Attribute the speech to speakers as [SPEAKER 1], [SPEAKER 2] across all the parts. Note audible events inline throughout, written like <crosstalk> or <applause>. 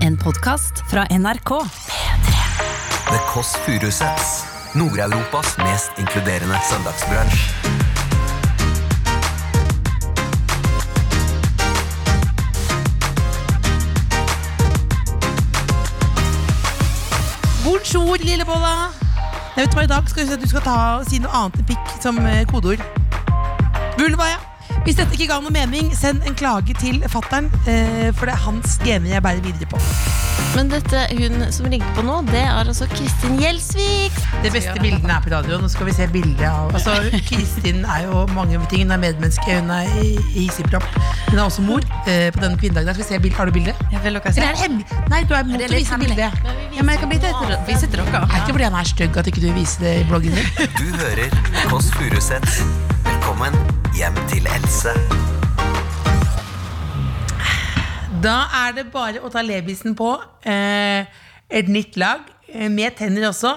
[SPEAKER 1] En podkast fra NRK.
[SPEAKER 2] The Kåss Furuseths. Nord-Europas mest inkluderende søndagsbransj.
[SPEAKER 3] Bonjour, lille bolla. Jeg vet hva, I dag skal du, si at du skal ta, si noe annet enn pikk som eh, kodeord. Vulva, ja. Hvis dette ikke ga noe mening, send en klage til fattern. eh, For det er hans gener jeg bærer videre på.
[SPEAKER 4] Men dette hun som ringte på nå, det er altså Kristin Gjelsvik.
[SPEAKER 3] Det beste bildene er på radioen. Nå skal vi se bilder av altså, Kristin er jo mange ting. Hun er medmenneske, hun er i- i hissig-propp. Hun er også mor. eh, På denne kvinnedagen der. Skal vi se bild- Har du bilde? Eller er det hemmelig? Nei, du er mot å vise bildet. Ja, men jeg kan bli til etter-
[SPEAKER 4] Vi setter dere av.
[SPEAKER 3] Er ikke fordi han er stygg at ikke du viser det i bloggen din?
[SPEAKER 2] Du hører Kåss Furuseths. Velkommen hjem til Else.
[SPEAKER 3] Da er det bare å ta lebisen på. Eh, et nytt lag, eh, med tenner også.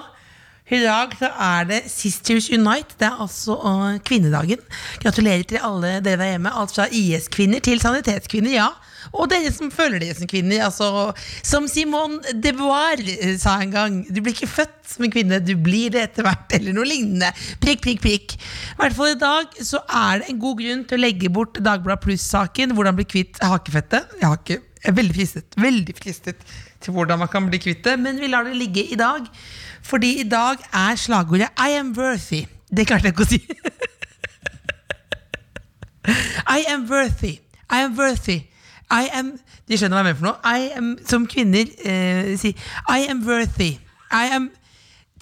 [SPEAKER 3] I dag så er det Sisters Unite. Det er altså eh, kvinnedagen. Gratulerer til alle dere der hjemme. Alt fra IS-kvinner til sanitetskvinner, ja. Og dere som føler dere som kvinner. Altså, som Simone de Beauvoir eh, sa en gang. Du blir ikke født som en kvinne, du blir det etter hvert, eller noe lignende. Prikk, prikk, prikk. I hvert fall i dag så er det en god grunn til å legge bort Dagbladet Pluss-saken. Hvordan bli kvitt hakefettet. Jeg har ikke jeg er veldig fristet, veldig fristet til hvordan man kan bli kvitt det, men vi lar det ligge i dag. Fordi i dag er slagordet 'I am worthy'. Det klarte jeg ikke å si. <laughs> I am worthy. I am worthy. I am De skjønner hva jeg mener for noe. I am, som kvinner eh, sier. I am worthy. I am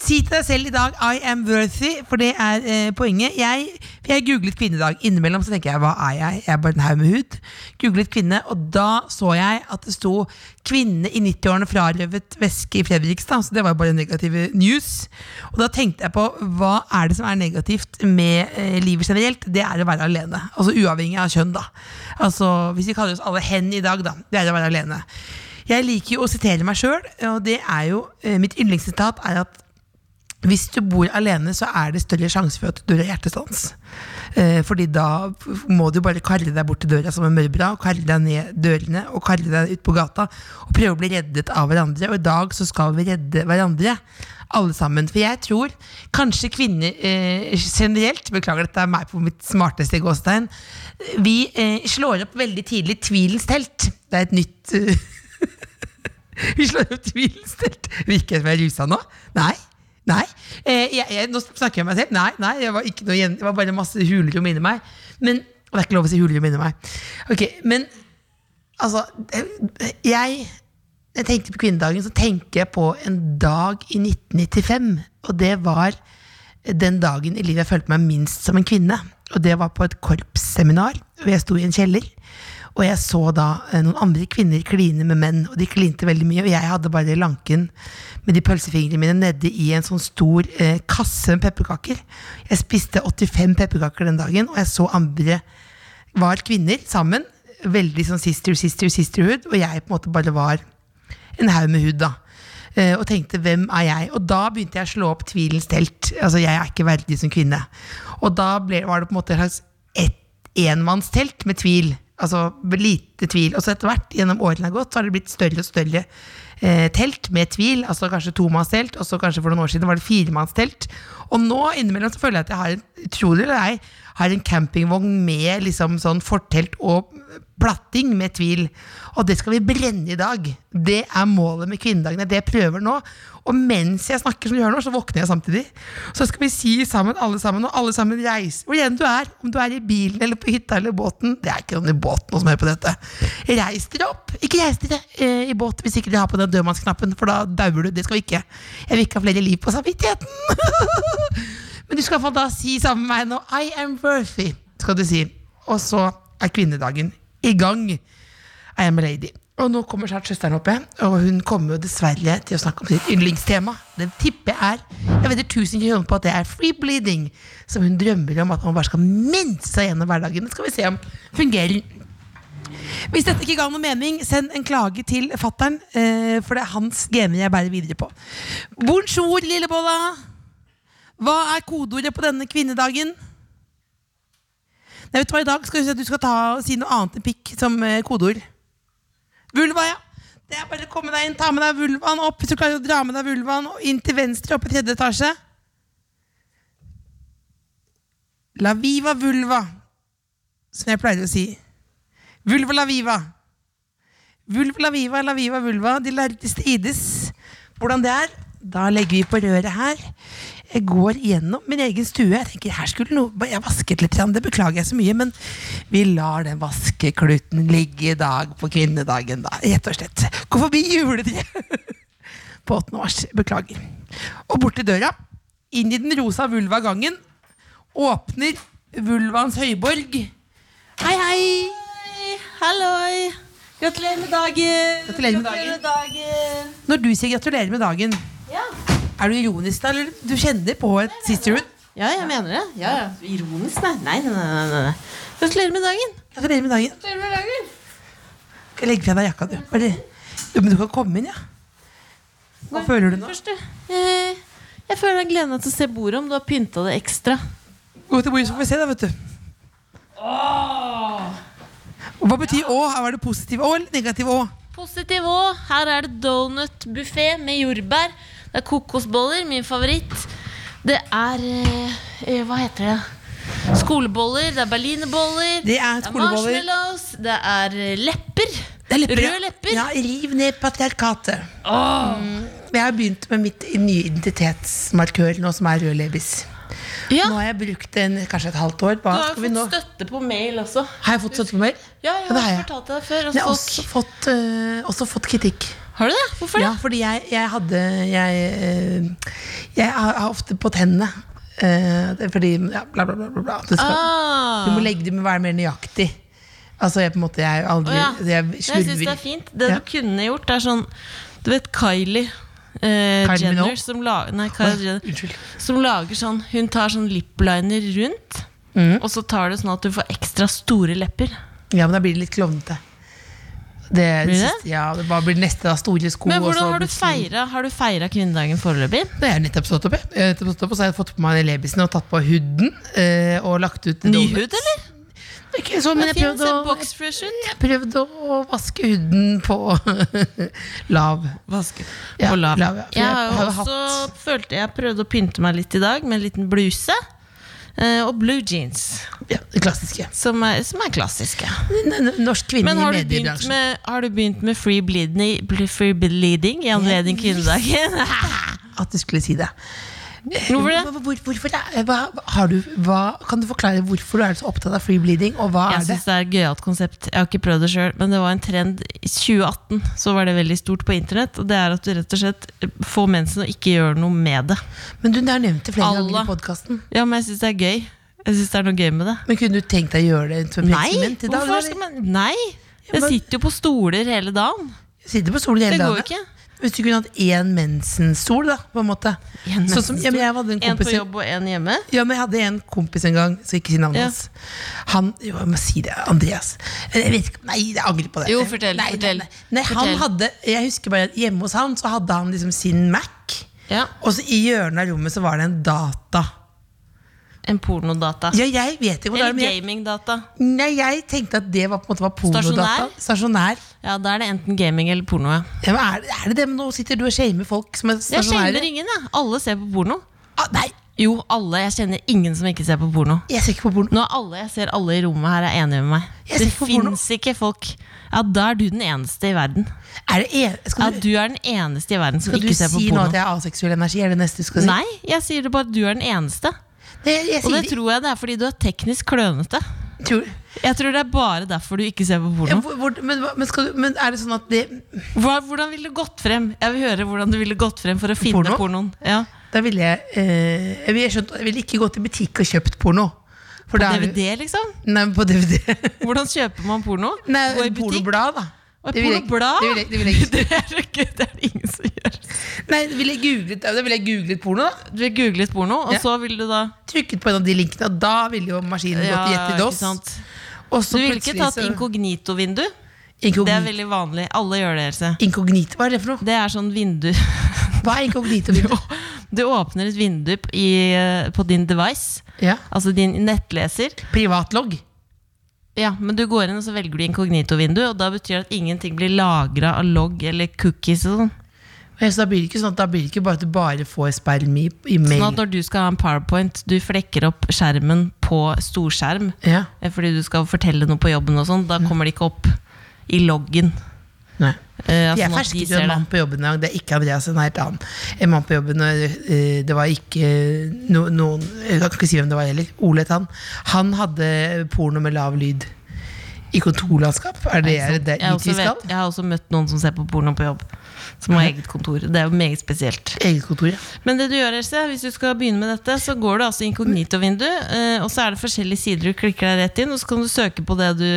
[SPEAKER 3] Si til deg selv i dag 'I am worthy', for det er eh, poenget. Jeg, for jeg googlet kvinnedag. Innimellom så tenker jeg 'hva er jeg?' Jeg er bare en haug med hud. Googlet kvinne, og da så jeg at det sto 'kvinne i 90-årene frarøvet væske i Fredrikstad'. Så det var jo bare negative news. Og da tenkte jeg på hva er det som er negativt med eh, livet generelt? Det er å være alene. Altså uavhengig av kjønn, da. Altså, hvis vi kaller oss alle hen i dag, da. Det er å være alene. Jeg liker jo å sitere meg sjøl, og det er jo eh, Mitt yndlingssitat er at hvis du bor alene, så er det større sjanse for at du har hjertestans. Eh, fordi da må du bare karre deg bort til døra som en mørbra, og karre deg ned dørene og karre deg ut på gata. Og prøve å bli reddet av hverandre. Og i dag så skal vi redde hverandre. Alle sammen. For jeg tror kanskje kvinner eh, generelt Beklager, dette er meg på mitt smarteste gåstegn. Vi eh, slår opp veldig tidlig tvilens telt. Det er et nytt eh, <laughs> vi slår opp tvilens telt. Virker jeg som jeg er rusa nå? Nei. Nei. Eh, jeg, jeg, nå snakker jeg om meg selv. Nei, nei, jeg var ikke noe gjen, det var bare masse hulrom inni meg. Men og Det er ikke lov å si hulrom inni meg. Ok, Men altså eh, Jeg når jeg tenkte på kvinnedagen, så tenker jeg på en dag i 1995. Og det var den dagen i livet jeg følte meg minst som en kvinne. Og det var på et korpsseminar, og jeg sto i en kjeller. Og jeg så da eh, noen andre kvinner kline med menn, og de klinte veldig mye. Og jeg hadde bare lanken med de pølsefingrene mine nedi i en sånn stor eh, kasse med pepperkaker. Jeg spiste 85 pepperkaker den dagen, og jeg så andre var kvinner sammen. Veldig sånn sister, sister, sisterhood. Og jeg på en måte bare var en haug med hud, da. Eh, Og tenkte 'hvem er jeg?' Og da begynte jeg å slå opp tvilens telt. Altså, jeg er ikke verdig som kvinne. Og da ble, var det på en måte et slags et, enmannstelt med tvil. Altså lite tvil. Og så etter hvert, gjennom årene har gått, så har det blitt større og større eh, telt med tvil. Altså kanskje tomannstelt, og så kanskje for noen år siden var det firemannstelt. Og nå innimellom så føler jeg at jeg har en utrolig eller ei, har en campingvogn med liksom sånn fortelt og platting med tvil. Og det skal vi brenne i dag. Det er målet med kvinnedagen. Det er det jeg prøver nå. Og mens jeg snakker, som du hører nå, så våkner jeg samtidig. Så skal vi si sammen, alle sammen, og alle sammen reise hvor enn du er. Om du er i bilen eller på hytta eller båten. Det er ikke noen i båten som hører på dette. Reis dere opp. Ikke reis dere eh, i båt hvis ikke dere har på den dødmannsknappen, for da dauer du. Det skal vi ikke. Jeg vil ikke ha flere liv på samvittigheten. Men du skal iallfall da si sammen med meg nå I am worthy, skal du si. Og så er kvinnedagen i gang. I am a lady. Og nå kommer snart søsteren opp igjen, og hun kommer jo dessverre til å snakke om sitt yndlingstema. Det tipper jeg er Jeg vedder 1000 kroner på at det er free bleeding, som hun drømmer om at man bare skal minse seg gjennom hverdagen. Det skal vi se om fungerer. Hvis dette ikke ga noe mening, send en klage til fattern, eh, for det er hans gener jeg bærer videre på. Bonjour, lille bolla. Hva er kodeordet på denne kvinnedagen? Nei, vet du hva, I dag skal du si at du skal ta, si noe annet enn pikk som eh, kodeord. Vulva, ja. Det er bare å komme deg inn, ta med deg vulvaen opp. Hvis du klarer å dra med deg vulvaen og inn til venstre opp i tredje etasje. La viva vulva, som jeg pleier å si. Vulva la viva. Vulva la viva, la viva vulva. De lærde strides. Hvordan det er? Da legger vi på røret her. Jeg går gjennom min egen stue. Jeg tenker, her skulle noe Jeg vasket litt, grann, det beklager jeg så mye, men vi lar den vaskekluten ligge i dag på kvinnedagen, da. Rett og slett. Gå forbi juletreet <laughs> på 8. mars. Beklager. Og bort til døra. Inn i den rosa vulva-gangen. Åpner vulvaens høyborg. Hei, hei!
[SPEAKER 4] Hei, Halloi! Gratulerer med dagen!
[SPEAKER 3] Gratulerer med dagen.
[SPEAKER 4] dagen.
[SPEAKER 3] Når du sier gratulerer med dagen,
[SPEAKER 4] Ja.
[SPEAKER 3] er du ironisk da, eller du kjenner på et sisterhood?
[SPEAKER 4] ja, jeg mener det. Ja, ja. Ironisk, nei. Nei, nei, nei, nei, nei. Gratulerer med dagen.
[SPEAKER 3] Gratulerer med dagen.
[SPEAKER 4] Gratulerer med dagen.
[SPEAKER 3] Legg fra deg jakka, du. Bare, du. Men du kan komme inn, ja. Hva føler du nå?
[SPEAKER 4] Først, du. Eh, Jeg føler jeg gleder meg til å se bordet om du har pynta det ekstra.
[SPEAKER 3] Gå til bordet, så får vi se, da, vet du. Og Hva betyr å? Her var det positiv å eller negativ å?
[SPEAKER 4] Positiv òg. Her er det donutbuffé med jordbær. Det er kokosboller, min favoritt. Det er eh, eh, Hva heter det? Skoleboller, det er berlinerboller,
[SPEAKER 3] Det er skoleboller.
[SPEAKER 4] det er marshmallows, det er eh, lepper.
[SPEAKER 3] Det er ja.
[SPEAKER 4] Røde lepper.
[SPEAKER 3] Ja, riv ned patriarkatet. Mm. Jeg har begynt med mitt nye identitetsmarkør nå, som er rød leppis.
[SPEAKER 4] Ja.
[SPEAKER 3] Nå har jeg brukt den kanskje et halvt år.
[SPEAKER 4] Du
[SPEAKER 3] Hva
[SPEAKER 4] har
[SPEAKER 3] skal vi
[SPEAKER 4] jo
[SPEAKER 3] nå?
[SPEAKER 4] fått støtte på mail også.
[SPEAKER 3] Har jeg fått støtte på mail?
[SPEAKER 4] Ja, jeg
[SPEAKER 3] Ja, det
[SPEAKER 4] har
[SPEAKER 3] har jeg.
[SPEAKER 4] fortalt deg det før. og
[SPEAKER 3] Men jeg har
[SPEAKER 4] folk-
[SPEAKER 3] også fått, øh, også fått kritikk.
[SPEAKER 4] Har du det? Hvorfor det?
[SPEAKER 3] Ja, fordi jeg, jeg hadde Jeg, øh, jeg har har ofte på tennene. øh, det er fordi ja, bla, bla, bla. bla, bla. Det skal,
[SPEAKER 4] Ah.
[SPEAKER 3] Du må legge det med å være mer nøyaktig. Altså, jeg på en måte Jeg er jo aldri
[SPEAKER 4] Å, ja.
[SPEAKER 3] Jeg
[SPEAKER 4] Jeg syns det er
[SPEAKER 3] slurver.
[SPEAKER 4] fint. Det
[SPEAKER 3] Ja.
[SPEAKER 4] du kunne gjort, er sånn Du vet Kylie eh,
[SPEAKER 3] Kylie
[SPEAKER 4] Jenner
[SPEAKER 3] Minogue?
[SPEAKER 4] som, la, nei, Kylie Jenner
[SPEAKER 3] Unnskyld.
[SPEAKER 4] som lager sånn Hun tar sånn lipliner rundt,
[SPEAKER 3] Mm.
[SPEAKER 4] og så tar det sånn at du får ekstra store lepper.
[SPEAKER 3] Ja, men da blir det litt klovnete. Det er
[SPEAKER 4] Blir det?
[SPEAKER 3] siste, ja, det bare blir neste da, store sko
[SPEAKER 4] Men
[SPEAKER 3] og så
[SPEAKER 4] hvordan har du
[SPEAKER 3] plutselig-
[SPEAKER 4] feira Har du feira kvinnedagen foreløpig?
[SPEAKER 3] Nei, Jeg har nettopp stått opp, jeg. jeg. har nettopp stått opp og så har jeg fått på meg lebisen og tatt på huden. eh, og lagt ut
[SPEAKER 4] Ny
[SPEAKER 3] donuts.
[SPEAKER 4] hud, eller?
[SPEAKER 3] Ikke sånn, men jeg
[SPEAKER 4] Fin,
[SPEAKER 3] prøvde
[SPEAKER 4] se
[SPEAKER 3] å,
[SPEAKER 4] box fresh ut.
[SPEAKER 3] jeg prøvde å vaske huden på lav. Ja,
[SPEAKER 4] på lav.
[SPEAKER 3] lav, ja. For
[SPEAKER 4] Jeg
[SPEAKER 3] jeg
[SPEAKER 4] har jo
[SPEAKER 3] hadde
[SPEAKER 4] også
[SPEAKER 3] hatt-
[SPEAKER 4] følte jeg prøvde å pynte meg litt i dag med en liten bluse. eh, Og blue jeans,
[SPEAKER 3] Ja, det klassiske.
[SPEAKER 4] som er, som er klassiske.
[SPEAKER 3] N- n- Norsk kvinne
[SPEAKER 4] Men har
[SPEAKER 3] i
[SPEAKER 4] du, begynt
[SPEAKER 3] mediebransjen.
[SPEAKER 4] med, har du begynt med free bleeding, bl- free bleeding i anledning kvinnedagen? <laughs>
[SPEAKER 3] At du skulle si det.
[SPEAKER 4] Hvorfor det?
[SPEAKER 3] Hvor, hvor, hvorfor det? Hva, har du, hva, kan du forklare hvorfor du er så opptatt av free bleeding, og hva
[SPEAKER 4] Jeg
[SPEAKER 3] er det?
[SPEAKER 4] syns det er et gøyalt konsept. Jeg har ikke prøvd det sjøl, men det var en trend i 2018. Så var det veldig stort på internett. Og det er at du rett og slett får mensen og ikke gjør noe med det.
[SPEAKER 3] Men du det har nevnt det flere
[SPEAKER 4] Alle.
[SPEAKER 3] ganger i podkasten.
[SPEAKER 4] Ja, men jeg syns det er gøy. Jeg synes det er noe gøy med det.
[SPEAKER 3] Men kunne du tenkt deg å gjøre det som et
[SPEAKER 4] Nei!
[SPEAKER 3] eksperiment i dag?
[SPEAKER 4] Hvorfor skal man Nei! Jeg
[SPEAKER 3] men-
[SPEAKER 4] sitter jo på stoler hele dagen.
[SPEAKER 3] Sitte på stolen hele
[SPEAKER 4] Det
[SPEAKER 3] dagen.
[SPEAKER 4] går jo ikke.
[SPEAKER 3] Hvis du kunne hatt én mensenstol, da, på en måte.
[SPEAKER 4] En
[SPEAKER 3] Sånn som, ja, men jeg hadde en
[SPEAKER 4] En på
[SPEAKER 3] kompis
[SPEAKER 4] jobb og en hjemme.
[SPEAKER 3] Ja, men jeg hadde en kompis en gang, så ikke si navnet
[SPEAKER 4] Ja.
[SPEAKER 3] hans. Han, jo, jeg må si det, Andreas. Eller Jeg vet ikke, nei, jeg angrer på det.
[SPEAKER 4] Jo, fortell,
[SPEAKER 3] nei, nei,
[SPEAKER 4] fortell.
[SPEAKER 3] Nei, nei, han
[SPEAKER 4] Fortell.
[SPEAKER 3] hadde, jeg husker bare at hjemme hos han, så hadde han liksom sin Mac.
[SPEAKER 4] Ja,
[SPEAKER 3] Og så i hjørnet av rommet så var det en data.
[SPEAKER 4] En pornodata.
[SPEAKER 3] Ja, jeg vet ikke hvor det
[SPEAKER 4] Eller
[SPEAKER 3] er, men jeg,
[SPEAKER 4] gamingdata.
[SPEAKER 3] nei, jeg tenkte at det var på en måte var pornodata.
[SPEAKER 4] Stasjonær?
[SPEAKER 3] Stasjonær.
[SPEAKER 4] Ja, da er det enten gaming eller porno. Ja.
[SPEAKER 3] Ja, men er, det, er det det, men nå sitter du og shamer folk som er
[SPEAKER 4] Jeg
[SPEAKER 3] stasjonære?
[SPEAKER 4] kjenner ingen, jeg. Alle ser på porno.
[SPEAKER 3] Ah, nei,
[SPEAKER 4] Jo, alle. Jeg kjenner ingen som ikke ser på porno.
[SPEAKER 3] jeg ser ikke på porno.
[SPEAKER 4] Nå er alle jeg ser alle i rommet her, er enige med meg.
[SPEAKER 3] Jeg
[SPEAKER 4] det
[SPEAKER 3] ser ikke på porno.
[SPEAKER 4] fins ikke folk Ja, da er du den eneste i verden.
[SPEAKER 3] Er det en,
[SPEAKER 4] Ja,
[SPEAKER 3] skal du,
[SPEAKER 4] du er den eneste i verden som
[SPEAKER 3] skal du
[SPEAKER 4] ikke ser på
[SPEAKER 3] si nå at
[SPEAKER 4] porno.
[SPEAKER 3] jeg er aseksuell energi? Er det neste du skal si?
[SPEAKER 4] Nei, jeg sier det bare at du er den eneste.
[SPEAKER 3] Nei, jeg, jeg
[SPEAKER 4] Og det
[SPEAKER 3] sier,
[SPEAKER 4] tror jeg det er fordi du er teknisk klønete.
[SPEAKER 3] tror,
[SPEAKER 4] Jeg tror det er bare derfor du ikke ser på
[SPEAKER 3] Ja,
[SPEAKER 4] porno.
[SPEAKER 3] hvor, hvor, men, hva- men, skal du, men er det sånn at det
[SPEAKER 4] Hva, hvordan ville du gått frem? Jeg vil høre hvordan du ville gått frem for å finne
[SPEAKER 3] Porno?
[SPEAKER 4] pornoen. Ja.
[SPEAKER 3] Da ville jeg eh, Jeg ville skjønt- jeg ville ikke gått i butikk og kjøpt porno. For da er det-
[SPEAKER 4] DVD, liksom?
[SPEAKER 3] Nei, men på
[SPEAKER 4] <laughs>
[SPEAKER 3] DVD.
[SPEAKER 4] Hvordan kjøper man porno?
[SPEAKER 3] Nei,
[SPEAKER 4] Gå i butikk?
[SPEAKER 3] pornoblad, da.
[SPEAKER 4] Og
[SPEAKER 3] Det ville jeg-
[SPEAKER 4] pornoblad?
[SPEAKER 3] det ville jeg- det ville jeg ikke-
[SPEAKER 4] <laughs> Det er jo gøy, det er det ingen som gjør.
[SPEAKER 3] Nei, da ville jeg googlet, da ville jeg googlet porno, da.
[SPEAKER 4] Du har googlet porno, og
[SPEAKER 3] Ja.
[SPEAKER 4] så vil du da
[SPEAKER 3] Trykket på en av de linkene, og da ville jo maskinen gått i ett i
[SPEAKER 4] ikke
[SPEAKER 3] dass.
[SPEAKER 4] sant?
[SPEAKER 3] Og
[SPEAKER 4] Du
[SPEAKER 3] så
[SPEAKER 4] ville ikke
[SPEAKER 3] plutselig
[SPEAKER 4] tatt
[SPEAKER 3] så-
[SPEAKER 4] inkognito-vindu?
[SPEAKER 3] inkognito.
[SPEAKER 4] Det er veldig vanlig. Alle gjør det. Else.
[SPEAKER 3] Inkognito, hva er det for noe?
[SPEAKER 4] Det er sånn vindu <laughs>
[SPEAKER 3] Hva er inkognito?
[SPEAKER 4] Du åpner et vindu p- i, eh, på din device,
[SPEAKER 3] Ja.
[SPEAKER 4] altså din nettleser.
[SPEAKER 3] Privatlogg.
[SPEAKER 4] Ja, men du går inn og så velger du inkognito-vindu, og da betyr det at ingenting blir lagra av logg eller cookies og sånn.
[SPEAKER 3] Men Så da blir det ikke sånn at da blir det ikke bare at du bare får sperm i, i mail.
[SPEAKER 4] Sånn at når du skal ha en powerpoint, du flekker opp skjermen på storskjerm
[SPEAKER 3] Ja.
[SPEAKER 4] eh, fordi du skal fortelle noe på jobben og sånn,
[SPEAKER 3] Mm.
[SPEAKER 4] da kommer det ikke opp i loggen.
[SPEAKER 3] Nei.
[SPEAKER 4] eh,
[SPEAKER 3] Jeg
[SPEAKER 4] sånn at
[SPEAKER 3] fersket
[SPEAKER 4] de
[SPEAKER 3] jo en
[SPEAKER 4] ser
[SPEAKER 3] mann
[SPEAKER 4] det.
[SPEAKER 3] på jobben en gang. Det er ikke Andreas, en helt annen. En mann på jobben, og eh, det var ikke no, noen Jeg kan ikke si hvem det var heller. Ole het han. Han hadde porno med lav lyd. I kontorlandskap? Er det er det
[SPEAKER 4] sånn. Jeg,
[SPEAKER 3] dit
[SPEAKER 4] har også
[SPEAKER 3] vi skal?
[SPEAKER 4] vet, jeg har også møtt noen som ser på porno på jobb, som har eget kontor. Det er jo meget spesielt.
[SPEAKER 3] Eget kontor, ja.
[SPEAKER 4] Men det du gjør, Else, hvis du skal begynne med dette, så går du altså inkognito-vindu, eh, og så er det forskjellige sider du klikker deg rett inn, og så kan du søke på det du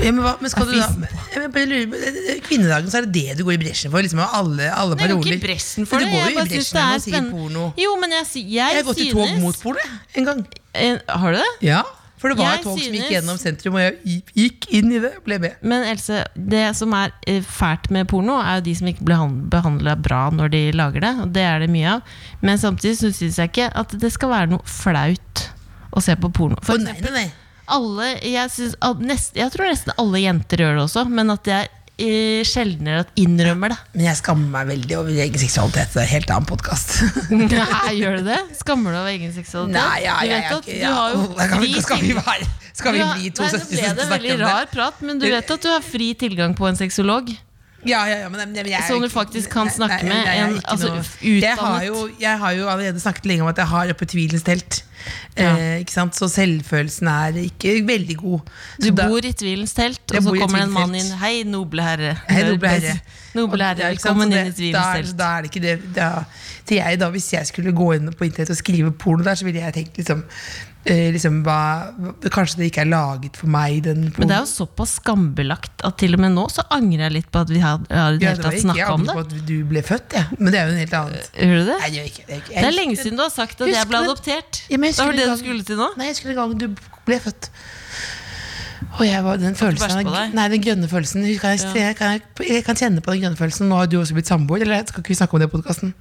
[SPEAKER 3] ja men, hva, men skal du
[SPEAKER 4] Det er
[SPEAKER 3] da Ja, men jeg bare lurer på- eh, Kvinnedagen, så er det det du går i bresjen for? Liksom av alle, alle
[SPEAKER 4] Jeg går
[SPEAKER 3] paroler?
[SPEAKER 4] ikke i bresjen for
[SPEAKER 3] Men
[SPEAKER 4] det.
[SPEAKER 3] Du går jo
[SPEAKER 4] jeg
[SPEAKER 3] i
[SPEAKER 4] bare synes
[SPEAKER 3] bresjen med å si porno.
[SPEAKER 4] Jo, men jeg, sy-
[SPEAKER 3] Jeg
[SPEAKER 4] jeg,
[SPEAKER 3] har gått i
[SPEAKER 4] synes
[SPEAKER 3] tog mot porno jeg, en gang.
[SPEAKER 4] Eh, Har du det?
[SPEAKER 3] Ja, For det var
[SPEAKER 4] Jeg
[SPEAKER 3] et tog som
[SPEAKER 4] synes-
[SPEAKER 3] gikk gjennom sentrum, og jeg gikk inn i det og ble med.
[SPEAKER 4] Men Else, det som er eh, fælt med porno, er jo de som ikke blir behandla bra når de lager det. Og det er det mye av. Men samtidig så syns jeg ikke at det skal være noe flaut å se på porno. For
[SPEAKER 3] Å, nei, nei, nei.
[SPEAKER 4] alle, jeg, synes, al- nest, jeg tror nesten alle jenter gjør det også, men at det er eh, sjeldnere at innrømmer det. <laughs>
[SPEAKER 3] Men jeg skammer meg veldig over egen seksualitet. Det er en helt annen <laughs> podkast.
[SPEAKER 4] Nei, gjør du det? Skammer du deg over egen seksualitet? du vet at du har jo
[SPEAKER 3] Skal vi,
[SPEAKER 4] fri
[SPEAKER 3] skal vi,
[SPEAKER 4] tilgang-
[SPEAKER 3] være, skal vi
[SPEAKER 4] Du har-
[SPEAKER 3] bli to
[SPEAKER 4] Nei,
[SPEAKER 3] søstre
[SPEAKER 4] Nå
[SPEAKER 3] som
[SPEAKER 4] ble det
[SPEAKER 3] snakker om
[SPEAKER 4] veldig
[SPEAKER 3] det?
[SPEAKER 4] rar prat, men du vet at du har fri tilgang på en sexolog?
[SPEAKER 3] Ja, ja, ja, men, men jeg, er
[SPEAKER 4] Som du
[SPEAKER 3] ikke-
[SPEAKER 4] faktisk kan
[SPEAKER 3] nei,
[SPEAKER 4] snakke
[SPEAKER 3] nei, nei,
[SPEAKER 4] med,
[SPEAKER 3] jeg er
[SPEAKER 4] en-
[SPEAKER 3] ikke
[SPEAKER 4] altså,
[SPEAKER 3] noe-
[SPEAKER 4] utdannet.
[SPEAKER 3] Jeg har, jo, jeg har jo allerede snakket lenge om at jeg har oppe tvilens telt.
[SPEAKER 4] Ja.
[SPEAKER 3] Eh, ikke sant? Så selvfølelsen er ikke veldig god.
[SPEAKER 4] Du
[SPEAKER 3] Så da-
[SPEAKER 4] bor i tvilens telt, og
[SPEAKER 3] Jeg
[SPEAKER 4] så
[SPEAKER 3] bor i
[SPEAKER 4] kommer det en
[SPEAKER 3] tvilens
[SPEAKER 4] mann
[SPEAKER 3] telt.
[SPEAKER 4] inn. Hei, noble herre.
[SPEAKER 3] Hei, noble herre.
[SPEAKER 4] Noble
[SPEAKER 3] Og- ja,
[SPEAKER 4] herre,
[SPEAKER 3] ikke sant?
[SPEAKER 4] velkommen
[SPEAKER 3] Så
[SPEAKER 4] liksom inn i
[SPEAKER 3] det- da er-
[SPEAKER 4] tvilens telt.
[SPEAKER 3] Da er det ikke det da, til jeg da, Hvis jeg skulle gå inn på internett og skrive porno der, så ville jeg tenkt liksom, eh, liksom hva, hva- Kanskje det ikke er laget for meg, den
[SPEAKER 4] Men det er jo såpass skambelagt at til og med nå så angrer jeg litt på at vi har, har i det
[SPEAKER 3] Ja,
[SPEAKER 4] hele
[SPEAKER 3] det var
[SPEAKER 4] tatt
[SPEAKER 3] ikke- jeg
[SPEAKER 4] snakka om
[SPEAKER 3] angrer
[SPEAKER 4] det.
[SPEAKER 3] på at du ble født, jeg. Men det er jo en helt annen
[SPEAKER 4] Gjør du det?
[SPEAKER 3] Nei, jeg gjør ikke det. Jeg-
[SPEAKER 4] Det er lenge siden du har sagt at
[SPEAKER 3] Husker
[SPEAKER 4] jeg ble
[SPEAKER 3] du-
[SPEAKER 4] adoptert.
[SPEAKER 3] Ja, men jeg
[SPEAKER 4] det var
[SPEAKER 3] husker
[SPEAKER 4] det du
[SPEAKER 3] en gang-
[SPEAKER 4] skulle til nå?
[SPEAKER 3] Nei, jeg husker en gang du ble født. Og jeg var den følelsen
[SPEAKER 4] bæsje på
[SPEAKER 3] av,
[SPEAKER 4] deg?
[SPEAKER 3] Nei, den grønne følelsen. Kan jeg, jeg, kan jeg, jeg kan kjenne på den grønne følelsen. Nå har du også blitt samboer, eller skal ikke vi snakke om det i podkasten?